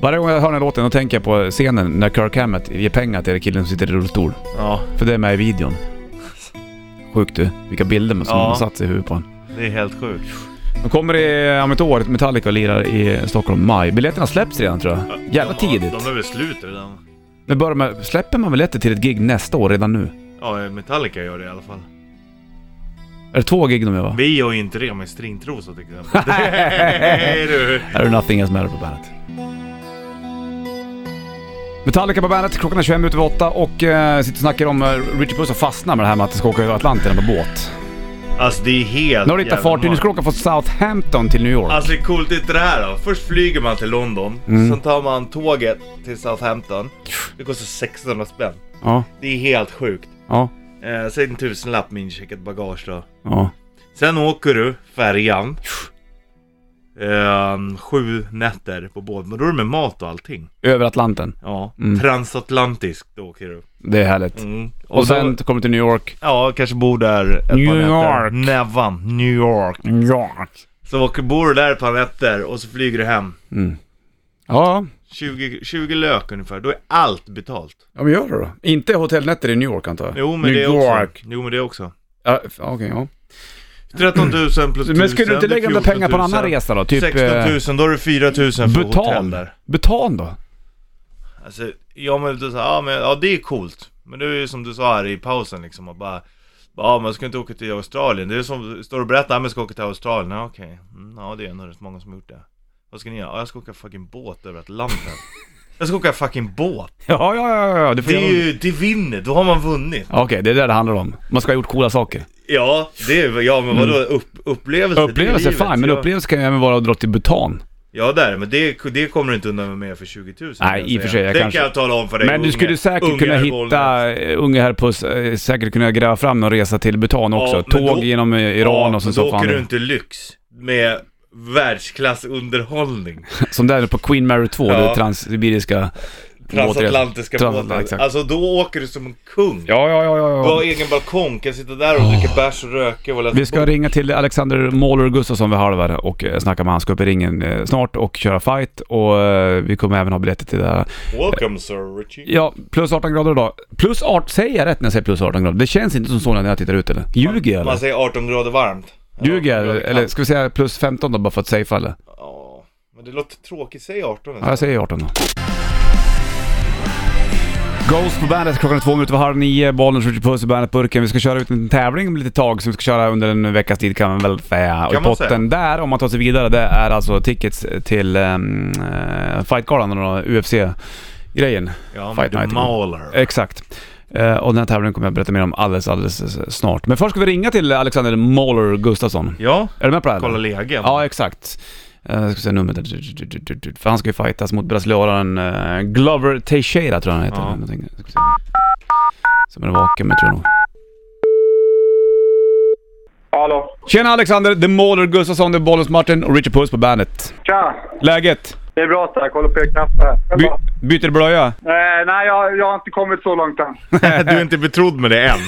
A: Varje gång jag hör den här låten då tänker jag på scenen när Kirk Hammett ger pengar till killen som sitter i rullstol.
B: ja,
A: För det är med i videon. Sjukt du, vilka bilder som
B: Ja.
A: har satt sig i huvudet på honom.
B: det är helt sjukt.
A: De kommer i, om ett år, Metallica och lirar i Stockholm maj. Biljetterna släpps redan tror jag. Jävla
B: de, har-
A: tidigt.
B: De är väl slut redan.
A: Men börjar med, släpper man biljetter till ett gig nästa år redan nu?
B: Ja, Metallica gör det i alla fall.
A: Är det två gig de gör va?
B: Vi gör ju inte det med stringtrosor till exempel. Nej du.
A: Här är Nothing Else Matter på bandet. Metallica på bandet, klockan är 21 minuter över åtta och eh, sitter och snackar om eh, Richard Puss har fastnat med det här med att de ska åka över Atlanten med båt.
B: Alltså det är helt
A: Nu har de hittat
B: jävla
A: fartyg, nu
B: mörkt.
A: ska de åka från Southampton till New York.
B: Alltså det är coolt inte det här då. Först flyger man till London,
A: Mm.
B: sen tar man tåget till Southampton. Det kostar 1600 spänn.
A: Ja,
B: Det är helt sjukt.
A: ja,
B: Eh, sen en tusenlapp med incheckat bagage då.
A: ja.
B: Sen åker du färjan. Eh, sju nätter på båt, men då är det med mat och allting.
A: Över Atlanten.
B: Ja,
A: Mm.
B: transatlantisk då åker du.
A: Det är härligt.
B: Mm.
A: Och, sen kommer du till New York.
B: Ja, kanske bor där ett
A: New
B: par nätter.
A: York.
B: Nevan, New York.
A: New York.
B: Så åker, bor du där ett par nätter och så flyger du hem.
A: Ja,
B: 20, 20 lök ungefär, då är allt betalt.
A: ja men gör det då. Inte hotellnätter i New York antar jag?
B: Jo men
A: New
B: det är
A: York.
B: också. Jo men det är också.
A: Ja, f- Okej, ja.
B: 13 000 plus 1000,
A: Men skulle du inte
B: det är
A: lägga de där
B: 14
A: pengarna på en annan
B: 000.
A: resa då? Typ
B: 16
A: eh,
B: 000, då är det 4 000 för hotell
A: Butan.
B: där.
A: Butan då?
B: Alltså, ja men du sa, ja men ja, det är coolt. Men det är ju som du sa här i pausen liksom och bara Ja man ska inte åka till Australien, det är som, står och berättar att man ska åka till Australien, ja okej. Mm, ja det är ändå rätt många som har gjort det. Vad ska ni göra? Ja, jag ska åka fucking båt över Atlanten. Jag ska åka fucking båt!
A: Ja, ja, ja, ja. Du får
B: Det är
A: gärna-
B: ju, det vinner, då har man vunnit.
A: Okej, det är det det handlar om. Man ska ha gjort coola saker.
B: Ja, det är, ja men vadå, upp, upplevelse? det är
A: Mm. Upplevelse,
B: livet.
A: fine. Men
B: Ja.
A: upplevelse kan ju även vara att dra till Butan.
B: Ja där, men det, det kommer du inte undan med för 20 000
A: Nej,
B: kan
A: i och
B: säga.
A: för sig, jag
B: Det
A: kanske-
B: kan jag tala om för dig
A: Men du
B: unge-
A: skulle säkert
B: unge
A: kunna
B: är våld.
A: hitta, eh, unge herr Puss, eh, säkert kunna gräva fram en resa till Butan också.
B: men
A: Tåg
B: då-
A: genom eh,
B: Ja,
A: Iran och
B: men
A: sen
B: Då
A: så fan.
B: åker du inte lyx med världsklassunderhållning.
A: Som där på Queen Mary 2,
B: Ja.
A: det transsibiriska...
B: Transatlantiska
A: Transatlant-
B: båten.
A: exakt.
B: Alltså då åker du som en kung.
A: Ja, ja, ja, ja.
B: Du
A: ja.
B: har egen balkong, kan sitta där och dricka bärs och röka och läsa
A: Vi ska
B: bok.
A: ringa till Alexander Måler Gustafsson vid halv här och eh, snacka med han. Ska upp i ringen eh, snart och köra fight och eh, vi kommer även ha biljetter till det här.
B: Welcome sir Richie.
A: Ja, plus 18 grader idag. Plus 18, säger jag rätt när jag säger plus 18 grader? Det känns inte som så när jag tittar ut eller? Ljuger jag
B: Man
A: eller?
B: säger 18 grader varmt.
A: Ljuger jag
B: Ja,
A: eller? eller ska vi säga plus 15 då bara för att safea eller?
B: Ja, men det låter tråkigt. Säg 18
A: Ja, jag säger 18 då. Ghost på bandet, klockan är två minuter över halv nio, bollen skjuter puss i bandetburken. Vi ska köra ut en tävling om lite tag som vi ska köra under en veckas tid kan man väl säga. Och i
B: Kan man säga.
A: potten där, om man tar sig vidare, det är alltså tickets till um, Fightgalan och UFC-grejen.
B: Ja, men
A: Fight
B: du
A: night.
B: maler.
A: Exakt. Eh, och den här tävlingen kommer jag berätta mer om alldeles, alldeles eh, snart. Men först ska vi ringa till Alexander Måler Gustafsson.
B: Ja,
A: Är du med på det här?
B: kolla lägen.
A: Ja, exakt. Eh, Jag ska se numret. där. För han ska ju fightas mot brasilianaren eh, Glover Teixeira tror jag han heter.
B: Ja.
A: Någonting. Ska vi se. Som är vaken med tror jag nog.
D: Hallå?
A: Tjena Alexander, The Mauler Gustafsson, The Bollens Martin och Richard Puss på bandet.
D: Tja!
A: Läget?
D: Det är bra tack. Håller på att knappa här. Själv
A: By
D: då?
A: byter du blöja?
D: Eh, nej, jag, jag har inte kommit så långt än.
B: Du är inte betrodd med det än.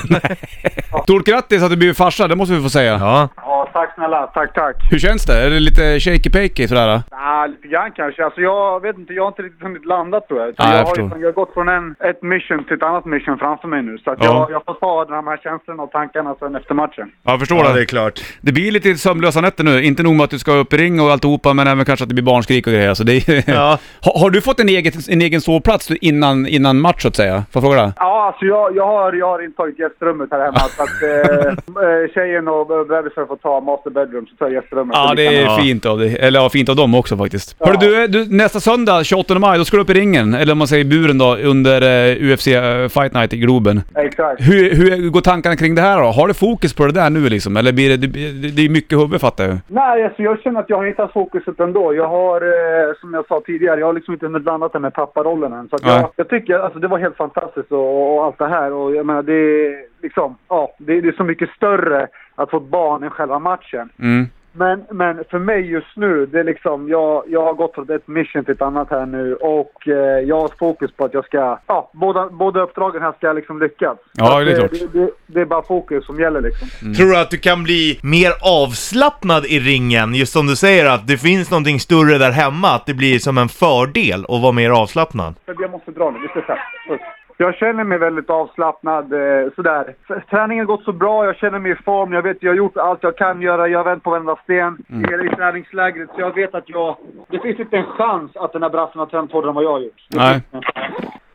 A: Stort grattis att du blivit farsa, det måste vi få säga.
B: Ja.
D: Ja, tack snälla. Tack, tack.
A: Hur känns det? Är det lite shaky-pakey sådär? då?
D: Ja, lite grann kanske. Alltså jag vet inte, jag har inte riktigt hunnit landa tror jag.
A: Ja, jag
D: har, ju-
A: förstår.
D: jag har gått från en, ett mission till ett annat mission framför mig nu. Så att
A: Ja.
D: jag, jag får ta de här känslorna och tankarna sen efter matchen.
A: Ja, jag förstår
B: Ja, det är klart.
A: Det blir lite sömnlösa nätter nu. Inte nog med att du ska upp i ring och alltihopa, men även kanske att det blir barnskrik och grejer. Så det är...
B: Ja.
A: har, har du fått en egen, en egen sovplats du, innan, innan match, så att säga? Får jag fråga?
D: Ja, alltså jag, jag, har, jag har intagit gästrummet här hemma. så att eh, eh, tjejen och bebisen får ta master bedroom, så tar jag gästrummet.
A: Ja,
D: Så
A: det
D: vi kan-
A: är fint av dig. Eller ja, fint av dem också faktiskt. Hörru du, du, nästa söndag, 28 maj, då ska du upp i ringen. Eller om man säger buren då, under eh, UFC eh, Fight Night i Globen.
D: Exakt.
A: Hur, hur går tankarna kring det här då? Har du fokus på det där nu liksom? Eller blir det... Det, det- det är mycket huvud fattar jag ju.
D: Nej, alltså jag känner att jag har hittat fokuset ändå. Jag har, eh, som jag sa tidigare, jag har liksom inte hunnit landa den med papparollen än. Så att
A: Nej.
D: jag, jag tycker, alltså det var helt fantastiskt och, och allt det här. Och jag menar, det är liksom, ja, det, det är så mycket större att få ett barn än själva matchen.
A: Mm.
D: Men, men för mig just nu, det är liksom, jag, jag har gått från ett mission till ett annat här nu och eh, jag har fokus på att jag ska, ja, båda, båda uppdragen här ska liksom lyckas.
A: Ja,
D: Så att
A: det är klart.
D: Det, det, det är bara fokus som gäller liksom.
B: Tror du att du kan bli mer avslappnad i ringen? Just som du säger att det finns någonting större där hemma, att det blir som en fördel att vara mer avslappnad.
D: Men Jag måste dra nu. Vi ses här. Puss. Jag känner mig väldigt avslappnad. Eh, sådär. F- Träningen har gått så bra. Jag känner mig i form. Jag vet jag har gjort allt jag kan göra. Jag har vänt på varenda sten i hela i träningslägret. Så jag vet att jag... Det finns inte en chans att den här brassen har tränat hårdare än vad jag har gjort.
A: Nej.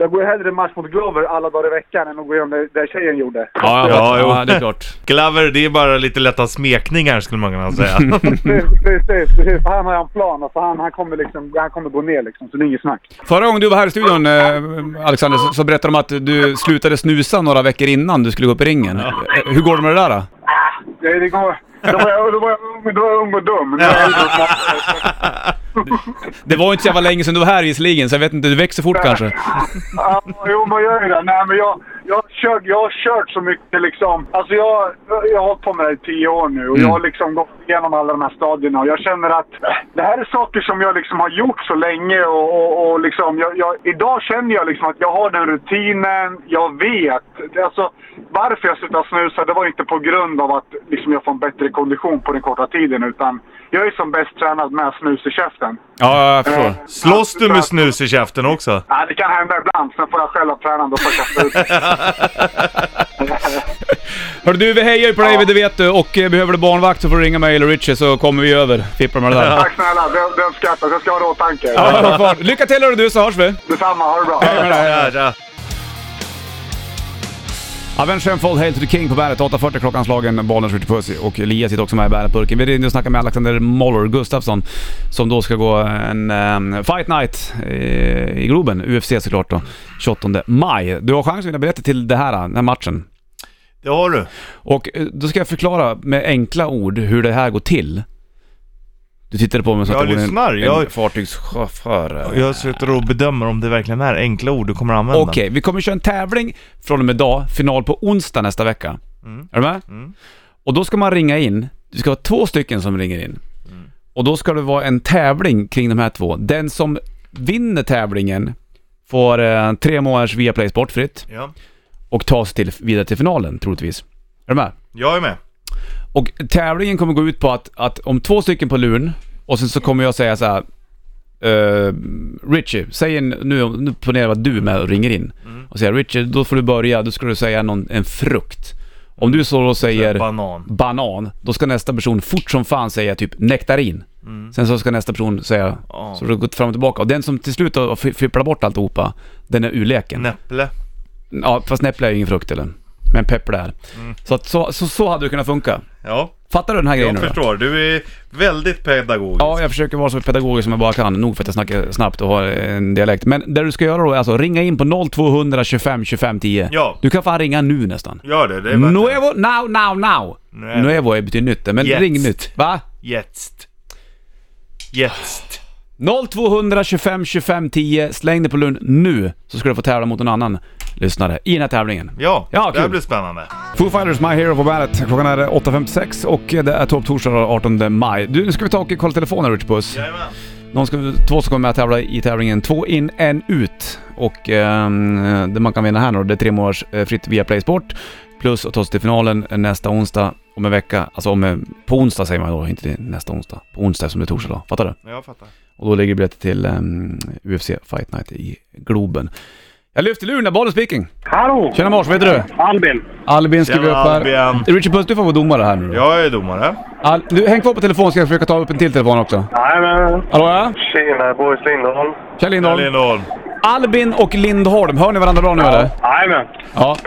D: Jag går hellre match mot Glover alla dagar i veckan än att gå igenom det där tjejen gjorde.
A: Ja, jag
B: Ja,
A: fattar.
B: jo.
A: ja, det är klart.
B: Glover, det är bara lite lätta smekningar skulle man kunna säga.
D: Precis, precis, precis. För Han har ju en plan. Alltså han, han, kommer liksom, han kommer gå ner liksom. Så det är inget snack.
A: Förra gången du var här i studion, eh, Alexander, så, så berättade de att du slutade snusa några veckor innan du skulle gå upp i ringen. Eh, Hur går det med det där då?
D: Det, det går... Då var jag, då var jag, ung- då var jag ung och dum. Nu är jag äldre och smart.
A: Det var ju inte så jävla länge sedan du var här visserligen, så jag vet inte, du växer fort kanske.
D: Ja, jo, man gör ju det. Nej, men jag, jag, har kört, jag har kört så mycket liksom. Alltså jag, jag har hållit på med det här i tio år nu och jag
B: Mm.
D: har liksom gått igenom alla de här stadierna och jag känner att eh, det här är saker som jag liksom har gjort så länge och, och, och liksom jag, jag, idag känner jag liksom att jag har den rutinen, jag vet. Det- Alltså varför jag slutade snusa, det var inte på grund av att liksom jag får en bättre kondition på den korta tiden utan jag är som bäst tränad med snus i käften.
A: Ja, jag förstår.
B: Slåss du med snus i käften också?
D: Ja, det kan hända ibland. Sen får jag själv ha tränaren. Då får jag kasta ut.
A: Hörru du, vi hejar ju på dig, det vet du. Och eh, behöver du barnvakt så får du ringa mig eller Richie så kommer vi över. Fipplar med det där.
D: Tack snälla, det, det uppskattas. Jag ska ha det i åtanke.
A: Ja, vad fan. Lycka till hörru du, så hörs vi.
D: Detsamma, ha det bra.
B: Ja, ja.
A: Avenge Sevenfold, Hail to the King på bandet. 8.40 klockan slagen, bollen skjuter puss och Elias sitter också med i bandetburken. Vi ringde och snackade med Alexander Moller Gustafsson som då ska gå en ehm, fight night eh, i Globen, UFC såklart då, 28 maj. Du har chans att vinna biljetter till det här, den här matchen.
B: Det har du.
A: Och eh, då ska jag förklara med enkla ord hur det här går till. Du tittar på mig som
B: Jag
A: vore
B: lyssnar,
A: en, en
B: jag-
A: fartygschaufför.
B: Jag sitter och bedömer om det verkligen är enkla ord du kommer att använda.
A: Okej, vi kommer köra en tävling från och med idag, final på onsdag nästa vecka.
B: Mm.
A: Är du med? Och då ska man ringa in, det ska vara två stycken som ringer in.
B: Mm.
A: Och då ska det vara en tävling kring de här två. Den som vinner tävlingen får eh, tre månaders Viaplay sportfritt
B: Ja.
A: och tas till, vidare till finalen troligtvis. Är du med?
B: Jag är med.
A: Och tävlingen kommer gå ut på att, att om två stycken på luren och sen så kommer jag säga så här. eh, Richie, säg en, nu, nu ponerar jag att du är med och ringer in och säger Richie, då får du börja, då ska du säga någon, en frukt. Om du så då säger
B: Banan.
A: banan, då ska nästa person fort som fan säga typ nektarin. Sen så ska nästa person säga,
B: Ja.
A: så det har gått fram och tillbaka. Och den som till slut har fi- fipplar bort alltihopa, den är ur leken.
B: Näpple.
A: Ja, fast näpple är ju ingen frukt eller? Men pepple är. Så, att, så, så, så hade det kunnat funka.
B: Ja,
A: Fattar du den här grejen
B: jag
A: nu då?
B: förstår. Du är väldigt pedagogisk.
A: Ja, jag försöker vara så pedagogisk som jag bara kan. Nog för att jag snackar snabbt och har en dialekt. Men det du ska göra då är alltså ringa in på 0200 25 25 10.
B: Ja.
A: Du kan fan ringa nu nästan.
B: Gör det. Det är värt det.
A: Nuevo, now, now, now!
B: Nuevo.
A: Nuevo är betyder nytt men
B: Yes.
A: ring nytt. Va?
B: Jetzt. Jetzt.
A: 0200 25 25 10. Släng dig på lund nu så ska du få tävla mot någon annan lyssnare i den här tävlingen.
B: Ja,
A: Ja,
B: det här
A: kul.
B: blir spännande.
A: Foo Fighters, My Hero på bandet. Klockan är 8.56 och det är Topp Torsdag den 18 maj. Du, nu ska vi ta och kolla telefonen Rich Puss.
B: Jajamän.
A: De ska, två ska vara med och tävla i tävlingen Två in, en ut. Och ehm, det man kan vinna här nu då, det är tre månaders eh, fritt via Playsport. Plus att ta sig till finalen nästa onsdag om en vecka. Alltså om, en- på onsdag säger man då, inte till nästa onsdag. På onsdag som det är torsdag då. Fattar du?
B: Ja, Jag fattar.
A: Och då ligger biljetter till ehm, UFC Fight Night i Globen. Jag lyfter luren där, bollen speaking.
D: Hallå!
A: Tjena Mars, vad heter du?
D: Albin!
A: Albin skriver upp
B: Tjena,
A: här.
B: Albin.
A: Richard Puss, du får vara domare här nu då.
B: Jag är domare.
A: Al- du, häng kvar på telefon ska jag försöka ta upp en till telefon också.
D: Nej, men...
A: Hallå ja?
D: Tjena, Boris Lindholm.
A: Kjell Lindholm.
B: Lindholm.
A: Albin och Lindholm, hör ni varandra bra nu eller?
D: Jajamän.
A: Ja,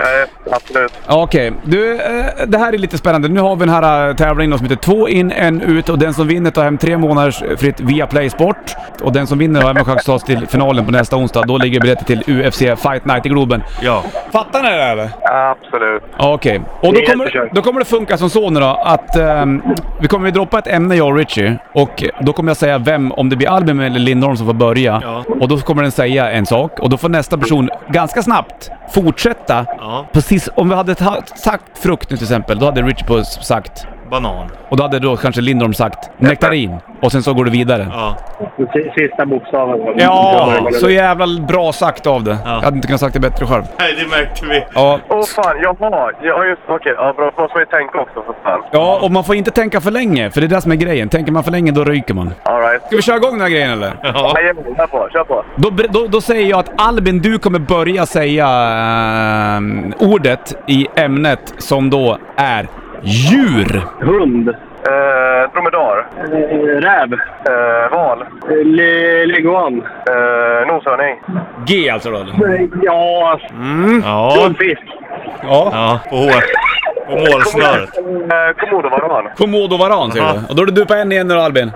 D: Absolut.
A: okej. Du, eh, det här är lite spännande. Nu har vi den här eh, tävlingen då som heter två in, en ut och den som vinner tar hem tre månaders eh, fritt via Play Sport. Och den som vinner har även chans att ta sig till finalen på nästa onsdag. Då ligger biljetter till UFC Fight Night i Globen.
B: Ja.
A: Fattar ni det eller?
D: Absolut.
A: Ja, Okej. Och
D: Det
A: då
D: är
A: kommer,
D: jättekört.
A: då kommer det funka som så nu då att ehm, vi kommer att droppa ett ämne jag och Richie och då kommer jag säga vem, om det blir Albin eller Lindholm som får börja.
B: Ja.
A: Och då kommer den säga en sak och då får nästa person ganska snabbt fortsätta.
B: Ja.
A: Precis, om vi hade ta- sagt frukt nu till exempel, då hade Richie på sagt
B: Banan.
A: och då hade då kanske Lindholm sagt nektarin och sen så går det vidare.
B: Ja.
D: Sista bokstaven.
A: Ja, så jävla bra sagt av det. Jag hade inte kunnat sagt det bättre själv.
B: Nej, det märkte vi.
A: Ja,
E: Åh fan, jaha! Ja just okej, ja, bra. Måste man ju tänka också för fan.
A: ja, och man får inte tänka för länge, för det är det som är grejen. Tänker man för länge då ryker man.
E: Alright.
A: Ska vi köra igång den här grejen eller?
B: Ja.
E: Nej, jag- kör på, kör på.
A: Då, då, då säger jag att Albin, du kommer börja säga ehm, ordet i ämnet som då är djur.
D: Hund.
E: Eh, dromedar.
D: Räv.
E: Eh, val.
D: Leguan.
E: Eh, noshörning.
A: G alltså då? eller?
D: Ja,
B: Ja.
D: fisk.
A: Ja.
B: Ja. På, hår. på målsnöret.
E: Eh, Komodovaran.
A: Komodovaran säger du.
B: Aha.
A: Och då är det du på en igen nu då, Albin.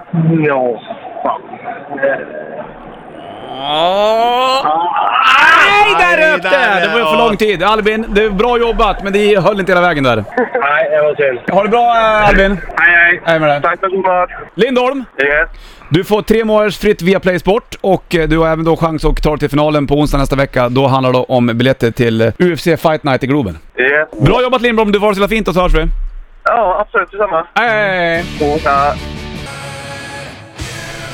D: Ja, fan.
A: Nej, där
B: Ah! Nej,
A: upp
B: där,
A: det! Det var ju för
B: ja.
A: lång tid. Albin, det är bra jobbat men det höll inte hela vägen där.
D: Nej, det var synd.
A: Ha det bra eh, Albin.
D: Hej, hej.
A: Jag är med dig.
E: Tack för god mat.
A: Lindholm,
E: Yes.
A: du får tre månaders fritt via Play Sport och eh, du har även då chans att ta dig till finalen på onsdag nästa vecka. Då handlar det om biljetter till eh, UFC Fight Night i Globen.
E: Yes.
A: Bra jobbat Lindblom, du får ha det så jävla fint och så hörs vi.
E: Ja, absolut. Detsamma.
A: Hej!
E: Ja.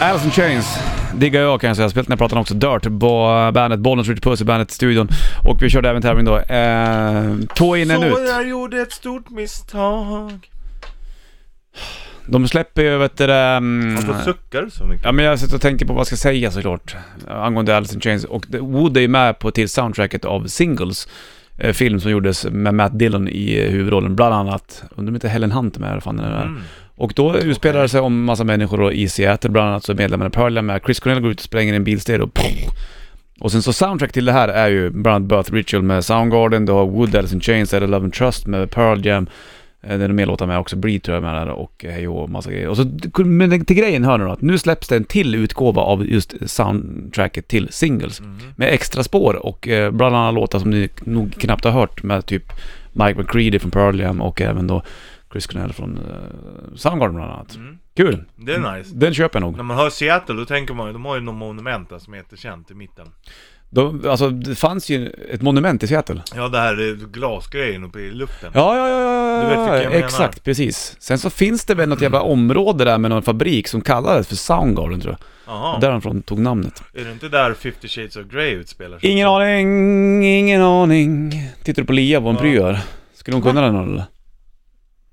A: Alice in Chains. Diggar jag kan jag säga. Spelat den här plattan också. Dirt, bo- bandet, Bollnäs, Richard Puss i bandet-studion. Och vi körde även tävling då. Eh, två in, en
B: Så
A: ut.
B: jag gjorde ett stort misstag.
A: De släpper ju vet du det, mm,
B: Varför suckar du så mycket?
A: Ja men jag sitter och tänker på vad jag ska säga såklart. Angående Alice in Chains. Och det- Wood är ju med på till soundtracket av Singles. Eh, eh, film som gjordes med Matt Dillon i eh, huvudrollen, bland annat, undrar om inte Helen Hunt är med i alla fall när den
B: Mm.
A: är. Och då utspelar det sig om massa människor då i Seattle, bland annat så är medlemmarna i Pearl Jam med. Chris Cornell går ut och spränger en bilstereo. Och sen så soundtrack till det här är ju bland annat Birth Ritual med Soundgarden, du har Wood, Alice in Chains, Out of Love and Trust med Pearl Jam. Eh, Det är mer låtar med också, Breed tror jag med där och eh, Hej och massa grejer. Och så, men till grejen hör nu då, att nu släpps det en till utgåva av just soundtracket till singles. Med extra spår och eh, bland annat låtar som ni nog knappt har hört med typ Mike McCready från Pearl Jam och även då Chris Cornell från eh, Soundgarden bland annat. Kul!
B: Det är nice.
A: Den köper jag nog.
B: När man hör Seattle då tänker man ju, de har ju något monument där som är jättekänt i mitten.
A: De, alltså, det fanns ju ett monument i Seattle.
B: Ja, det här eh, glasgrejen uppe i luften.
A: Ja, ja, ja, ja,
B: Du vet
A: ja,
B: vilken jag menar.
A: exakt, precis. Sen så finns det väl något jävla område där med någon fabrik som kallades för Soundgarden tror jag.
B: Jaha.
A: Därifrån tog namnet.
B: Är det inte där 50 Shades of Grey utspelar sig?
A: Ingen aning, ingen aning. Tittar du på Lia vad hon pryar? Skulle hon kunna den eller?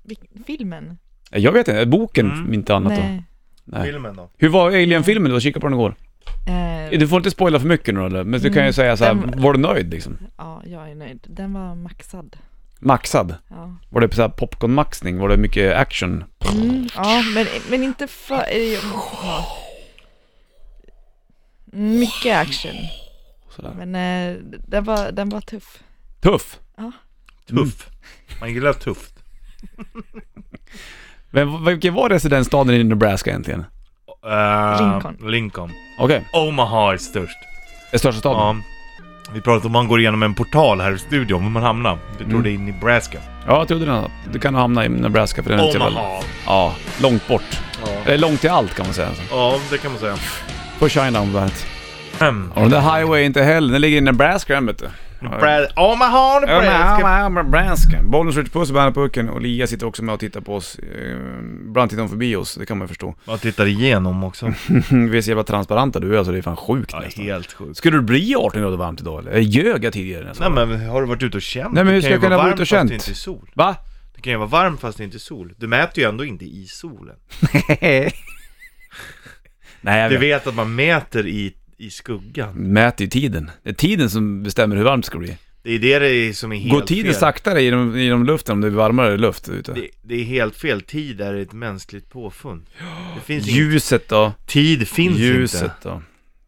F: Vil- Filmen?
A: Jag vet inte, boken
B: Mm.
A: inte annat då.
F: Nej.
B: Filmen då?
A: Hur var Alien-filmen du kikade på den igår?
F: Eh,
A: Du får inte spoila för mycket nu eller? Men du kan ju
F: Mm.
A: säga så här,
F: Den-
A: var du nöjd liksom?
F: ja, jag är nöjd. Den var maxad.
A: Maxad?
F: Ja,
A: Var det så här popcorn-maxning? Var det mycket action?
F: mm, ja men, men inte för... eh, Ja. Mycket action.
A: Sådär.
F: Men eh, den, var, den var tuff.
A: Tuff! Mm.
B: Tuff. Man gillar tufft.
A: Men vilken var residensstaden i Nebraska egentligen?
B: Eh,
F: Lincoln.
B: Lincoln.
A: Okej,
B: Omaha är störst.
A: är största staden?
B: Ja. Vi pratar om man går igenom en portal här i studion, var man hamnar. Vi
A: Mm.
B: tror det är i Nebraska.
A: Ja, jag trodde den. Du kan hamna i Nebraska för den är inte så väl...
B: Omaha.
A: Ja, långt bort.
B: Ja.
A: Eller långt till allt kan man säga. Alltså.
B: ja, det kan man säga.
A: På Shinedown bland annat.
B: Mm.
A: Och den där highway inte heller. Den ligger i Nebraska den vet du.
B: Brad- Omaha, Nebraska.
A: Nebraska. Nebraska. Bollnäs Rich Puss bär pucken och Lia sitter också med och tittar på oss. Eh, Ibland tittar hon förbi oss, det kan man ju förstå.
B: Man tittar igenom också.
A: Vi är så jävla transparenta du är alltså, det är fan sjukt
B: Ja,
A: nästan.
B: helt sjukt.
A: Skulle det bli 18 grader varmt idag eller? Jag ljög jag tidigare nästan?
B: Nej men har du varit ute och känt?
A: Nej, men hur
B: Det
A: ska jag
B: kan ju
A: kunna vara
B: varmt
A: ute och
B: fast
A: känt?
B: det inte är sol.
A: Va?
B: Det kan ju vara varmt fast det inte är sol. Du mäter ju ändå inte i solen.
A: Nej, jag
B: Du
A: vet.
B: vet att man mäter i, i skuggan.
A: Mäter ju tiden. Det är tiden som bestämmer hur varmt det ska bli.
B: Det är det det är som är helt
A: Går tiden
B: fel.
A: saktare genom, genom luften om det är varmare luft ute?
B: Det, det är helt fel. Tid är ett mänskligt påfund. Det finns ingen...
A: Ljuset då?
B: Tid finns
A: Ljuset
B: inte.
A: då?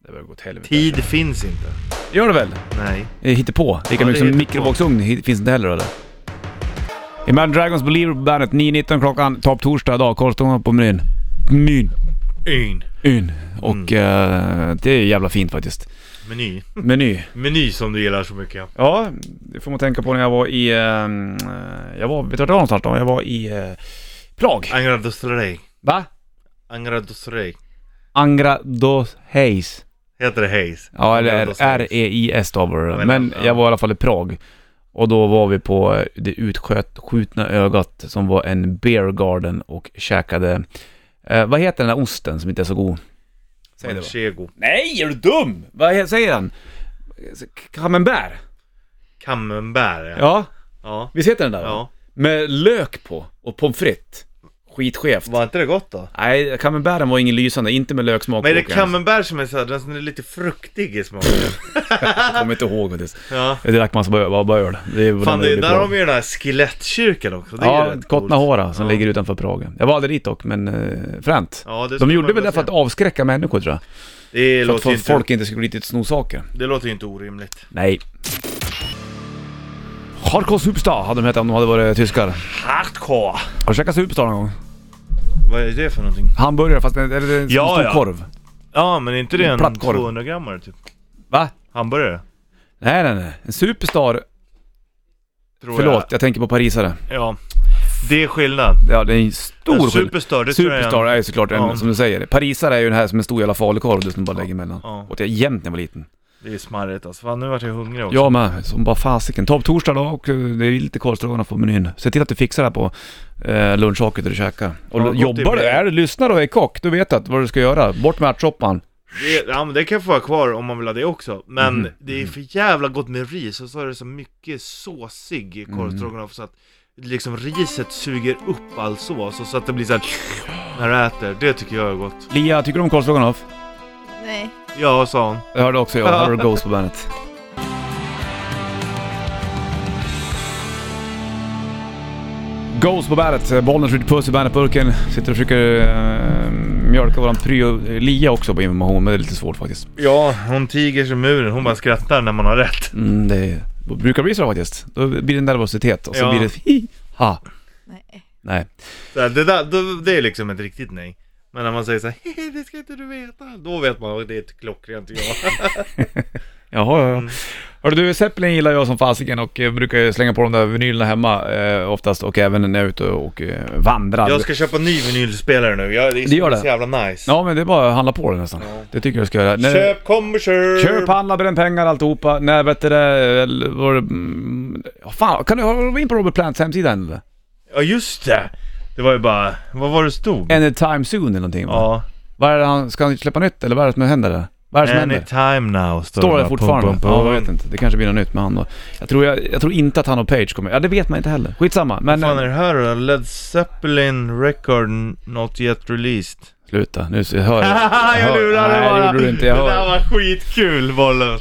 A: Det börjar gå åt helvete.
B: Tid finns inte.
A: Gör det väl?
B: Nej.
A: Eh, Hittepå. Lika
B: Ja,
A: mycket
B: det
A: som
B: är
A: mikrovågsugn hi- finns inte heller eller? Imagine Dragons Believer på bandet 9.19 klockan, topp torsdag idag. Korvstången på menyn. Menyn.
B: Yn.
A: Yn. Och eh, det är jävla fint faktiskt.
B: Meny.
A: Meny.
B: Meny som du gillar så mycket.
A: Ja, det får man tänka på när jag var i... eh, jag var, vet du vart jag var någonstans då? Jag var i eh, Prag.
B: Angra dos Rey.
A: Va?
B: Angra dos Rey.
A: Angra dos Reis.
B: Heter det Hayes?
A: Ja, eller R-
B: Angra
A: E
B: dos Reis.
A: R-E-I-S stavar det.
B: men,
A: Men
B: ja.
A: jag var i alla fall i Prag. Och då var vi på eh, det utskjutna ögat som var en beer garden och käkade... Eh, vad heter den där osten som inte är så god? Säg det bara.
B: Manchego.
A: Nej, är du dum? Vad he- säger den? Camembert?
B: Camembert ja.
A: Ja,
B: Ja.
A: visst heter den där? va?
B: ja.
A: Med lök på och pommes frites. Skitskevt.
B: Var inte det gott då?
A: Nej, camemberten var ingen lysande, inte med löksmak.
B: Men är det
A: och ens.
B: camembert som är såhär, den som är lite fruktig i smaken?
A: Jag kommer inte ihåg faktiskt.
B: Ja.
A: Jag drack massa bara, bara, bara öl. Det är
B: Fan, det,
A: blir
B: där
A: bra.
B: har vi ju den här skelettkyrkan också. Det är ju
A: Ja,
B: rätt coolt.
A: Kotnahora som
B: Ja.
A: ligger utanför Prag. Jag var aldrig dit dock, men eh, fränt.
B: Ja, det
A: De
B: skulle
A: gjorde
B: man
A: väl
B: vilja
A: det för
B: se.
A: att avskräcka människor tror jag.
B: Det
A: För att
B: låter,
A: få
B: ju inte,
A: folk inte skulle gå dit och sno saker.
B: det låter ju inte orimligt.
A: Nej. Hardcore Superstar hade de hetat om de hade varit tyskar.
B: Hardcore!
A: Har du käkat Superstar någon gång?
B: Vad är det för någonting?
A: Hamburgare fast en, eller en
B: Ja,
A: stor
B: ja.
A: korv.
B: Ja, men är inte det en
A: Plattkorv.
B: 200 grammare typ?
A: Va?
B: Hamburgare?
A: Nej, nej, nej. En Superstar...
B: Tror
A: Förlåt, jag tänker på parisare.
B: Jag. Ja. Det är skillnad.
A: Ja, det är en stor
B: En
A: skill-
B: superstar, det tror jag är en-
A: Superstar är ju såklart en,
B: Ja.
A: som du säger. Parisare är ju den här som en stor jävla falukorv du som bara lägger emellan.
B: Ja.
A: Åt jag jämt när jag var liten.
B: Det är smarrigt alltså. Fan, nu vart jag hungrig också.
A: Jag med, som bara fasiken. Ta upp torsdag då och eh, det är lite korvstroganoff på menyn. Se till att du fixar det här på eh, lunchhaket där du käkar. Och
B: Ja, gott
A: jobbar du,
B: i bröd.
A: är du lyssnare och är kock, då vet du att vad du ska göra. Bort med ärtsoppan.
B: Det, ja, men det kan jag få vara kvar om man vill ha det också. Men det är för jävla gott med ris och så är det så mycket såsig korvstroganoff så att liksom riset suger upp all sås och så att det blir så här när du äter. Det tycker jag är gott.
A: Lia, tycker du om korvstroganoff?
F: Nej.
B: Ja, sa hon.
A: Det hörde också jag. Hörde Ghost på bandet. Ghost på bandet, eh, bollen skjuter puss i bandetburken. Sitter och försöker eh, mjölka våran pryo eh, Lia också på information, men det är lite svårt faktiskt.
B: Ja, hon tiger som muren. Hon bara skrattar när man har rätt.
A: Mm, det brukar bli så faktiskt. Då blir det nervositet och så
B: Ja.
A: blir det hi, ha.
F: Nej.
A: Nej.
B: Så här, det, där, då, det är liksom ett riktigt nej. Men när man säger så här, "Hehe, det ska inte du veta. Då vet man att det är ett klockrent ja.
A: Jaha, ja, ja. Mm. Hörru du, Zeppelin gillar jag som fasiken och eh, brukar ju slänga på de där vinylerna hemma eh, oftast och även när jag är ute och eh, vandrar.
B: Jag ska köpa ny vinylspelare nu. Jag, det är
A: Det gör
B: så,
A: det.
B: jävla nice.
A: Ja men det är bara att handla på det nästan. Det tycker jag du ska göra. När-
B: Köp, kom och köp!
A: Köp, handla, bränn pengar, alltihopa. När vet du det, eller var det... mm, ja, Fan, kan du gå in på Robert Plants hemsida än eller?
B: Ja just det! Det var ju bara, vad var det stod?
A: Anytime soon eller någonting va?
B: Ja,
A: Vad är det han, ska han släppa nytt eller vad är det som händer där? Vad är det som händer?
B: anytime now står,
A: Står
B: bara.
A: det
B: Pum,
A: fortfarande?
B: pum, pum.
A: Ja, jag vet inte. Det kanske blir något nytt med han då. Jag tror, jag, jag tror inte att han och Page kommer... Ja, det vet man inte heller. Skitsamma. Men...
B: Vad fan är det här då? Led Zeppelin record not yet released.
A: Sluta, nu så jag hör
B: jag lurade
A: Nej,
B: bara!
A: det gjorde du inte. Jag
B: det där
A: hör...
B: var skitkul bollen!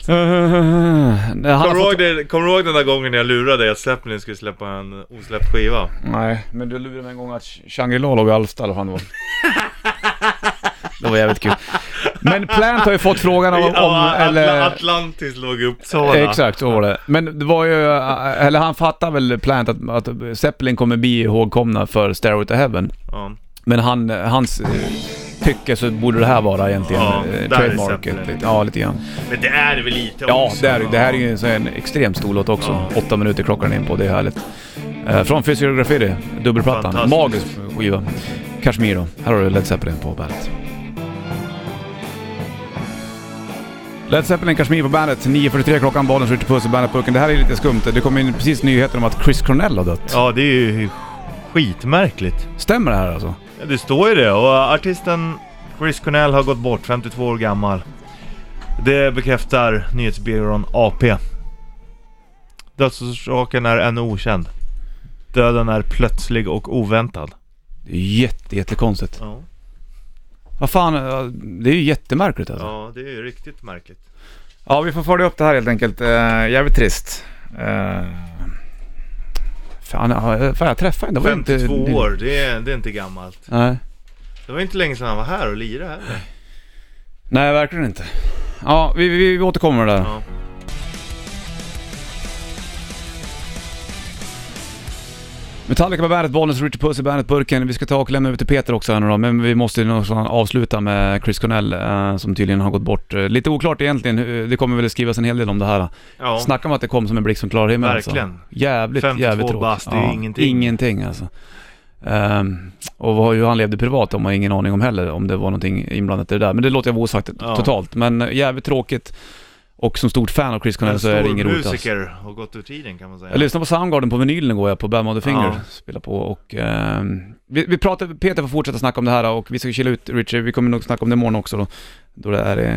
A: Nej, han har
B: Kommer du
A: fått-
B: ihåg, det- kommer du ihåg den där gången jag lurade dig att Zeppelin skulle släppa en osläppt skiva?
A: Nej, men du lurade mig en gång att Shangri-La låg i Alfta eller vad fan det var. Det var jävligt kul. Men Plant har ju fått frågan om... om
B: ja, Atla-
A: eller,
B: Atlantis låg i Uppsala.
A: exakt, så var det. Men det var ju... Eller han fattar väl Plant att, att Zeppelin kommer bli ihågkomna för Stairway to Heaven.
B: Ja.
A: Men han, hans eh, tycke så borde det här vara egentligen
B: Ja,
A: eh,
B: där är
A: trademarket.
B: Zeppelin.
A: Lite, ja, lite grann.
B: Men det är det väl lite
A: Ja,
B: också?
A: det, är, det här är ju en, så en extremt stor låt också. Åtta minuter klockar den in på, det är härligt. Eh, från Physiography, dubbelplattan.
B: Fantastiskt.
A: Magisk skiva. Kashmir då. Här har du Led Zeppelin på bandet. Led Zeppelin, Kashmir på bandet. 9.43 klockan, bollen skjuter puss i bandetburken. Det här är lite skumt. Det kom in precis nyheter om att Chris Cornell har dött.
B: Ja, det är ju skitmärkligt.
A: Stämmer det här alltså?
B: Ja, det står ju det och eh, artisten Chris Cornell har gått bort, 52 år gammal. Det bekräftar nyhetsbyrån AP. Dödsorsaken är ännu okänd. Döden är plötslig och oväntad.
A: Det är jätte, jättekonstigt.
B: Ja,
A: Vad fan, eh, det är ju jättemärkligt alltså.
B: ja det är ju riktigt märkligt.
A: Ja, vi får följa upp det här helt enkelt. Eh, jävligt trist. Eh, fan, ja, eh, fan, jag träffade henne. Det var inte-
B: 52
A: det-
B: år, det är, det är inte gammalt.
A: Nej.
B: Det var inte länge sedan han var här och lirade heller.
A: Nej, verkligen inte. Ja, vi, vi, vi återkommer med det där.
B: Ja.
A: Metallica på bandet, Bollnäs, Richard Puss i bandetburken. Vi ska ta och lämna över till Peter också här nu då, men vi måste ju någonstans avsluta med Chris Cornell eh, som tydligen har gått bort. Eh, Lite oklart egentligen, hur- det kommer väl skrivas en hel del om det här.
B: Ja.
A: Snacka om att det kom som en blixt från klar himmel
B: Verkligen.
A: Alltså. Jävligt,
B: 52
A: jävligt tråkigt.
B: bast, det är ju ingenting.
A: Ingenting alltså. Ehm, och vad- hur han levde privat har man ingen aning om heller, om det var någonting inblandat i det där. Men det låter jag vara osagt
B: Ja.
A: totalt. Men eh, jävligt tråkigt. Och som stort fan av Chris Cornell
B: En
A: så är det
B: stor
A: ingen roligt alls.
B: musiker har gått ur tiden kan man säga.
A: Jag lyssnade på Soundgarden på vinylen går jag på Bam on the Finger,
B: Ja.
A: spelar på och... ehm, vi, vi pratar, Peter får fortsätta snacka om det här och vi ska chilla ut Richie, vi kommer nog snacka om det imorgon också då. Då det är eh,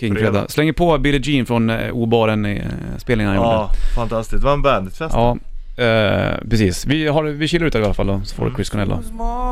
A: King-fredag.
B: Fredag.
A: Slänger på Billie Jean från eh, obaren i eh, spelningen han gjorde.
B: Ja, fantastiskt. Det var en bandetfest.
A: Ja, eh, precis. Vi, har, vi chillar ut det i alla fall då, så får du Chris Cornell då.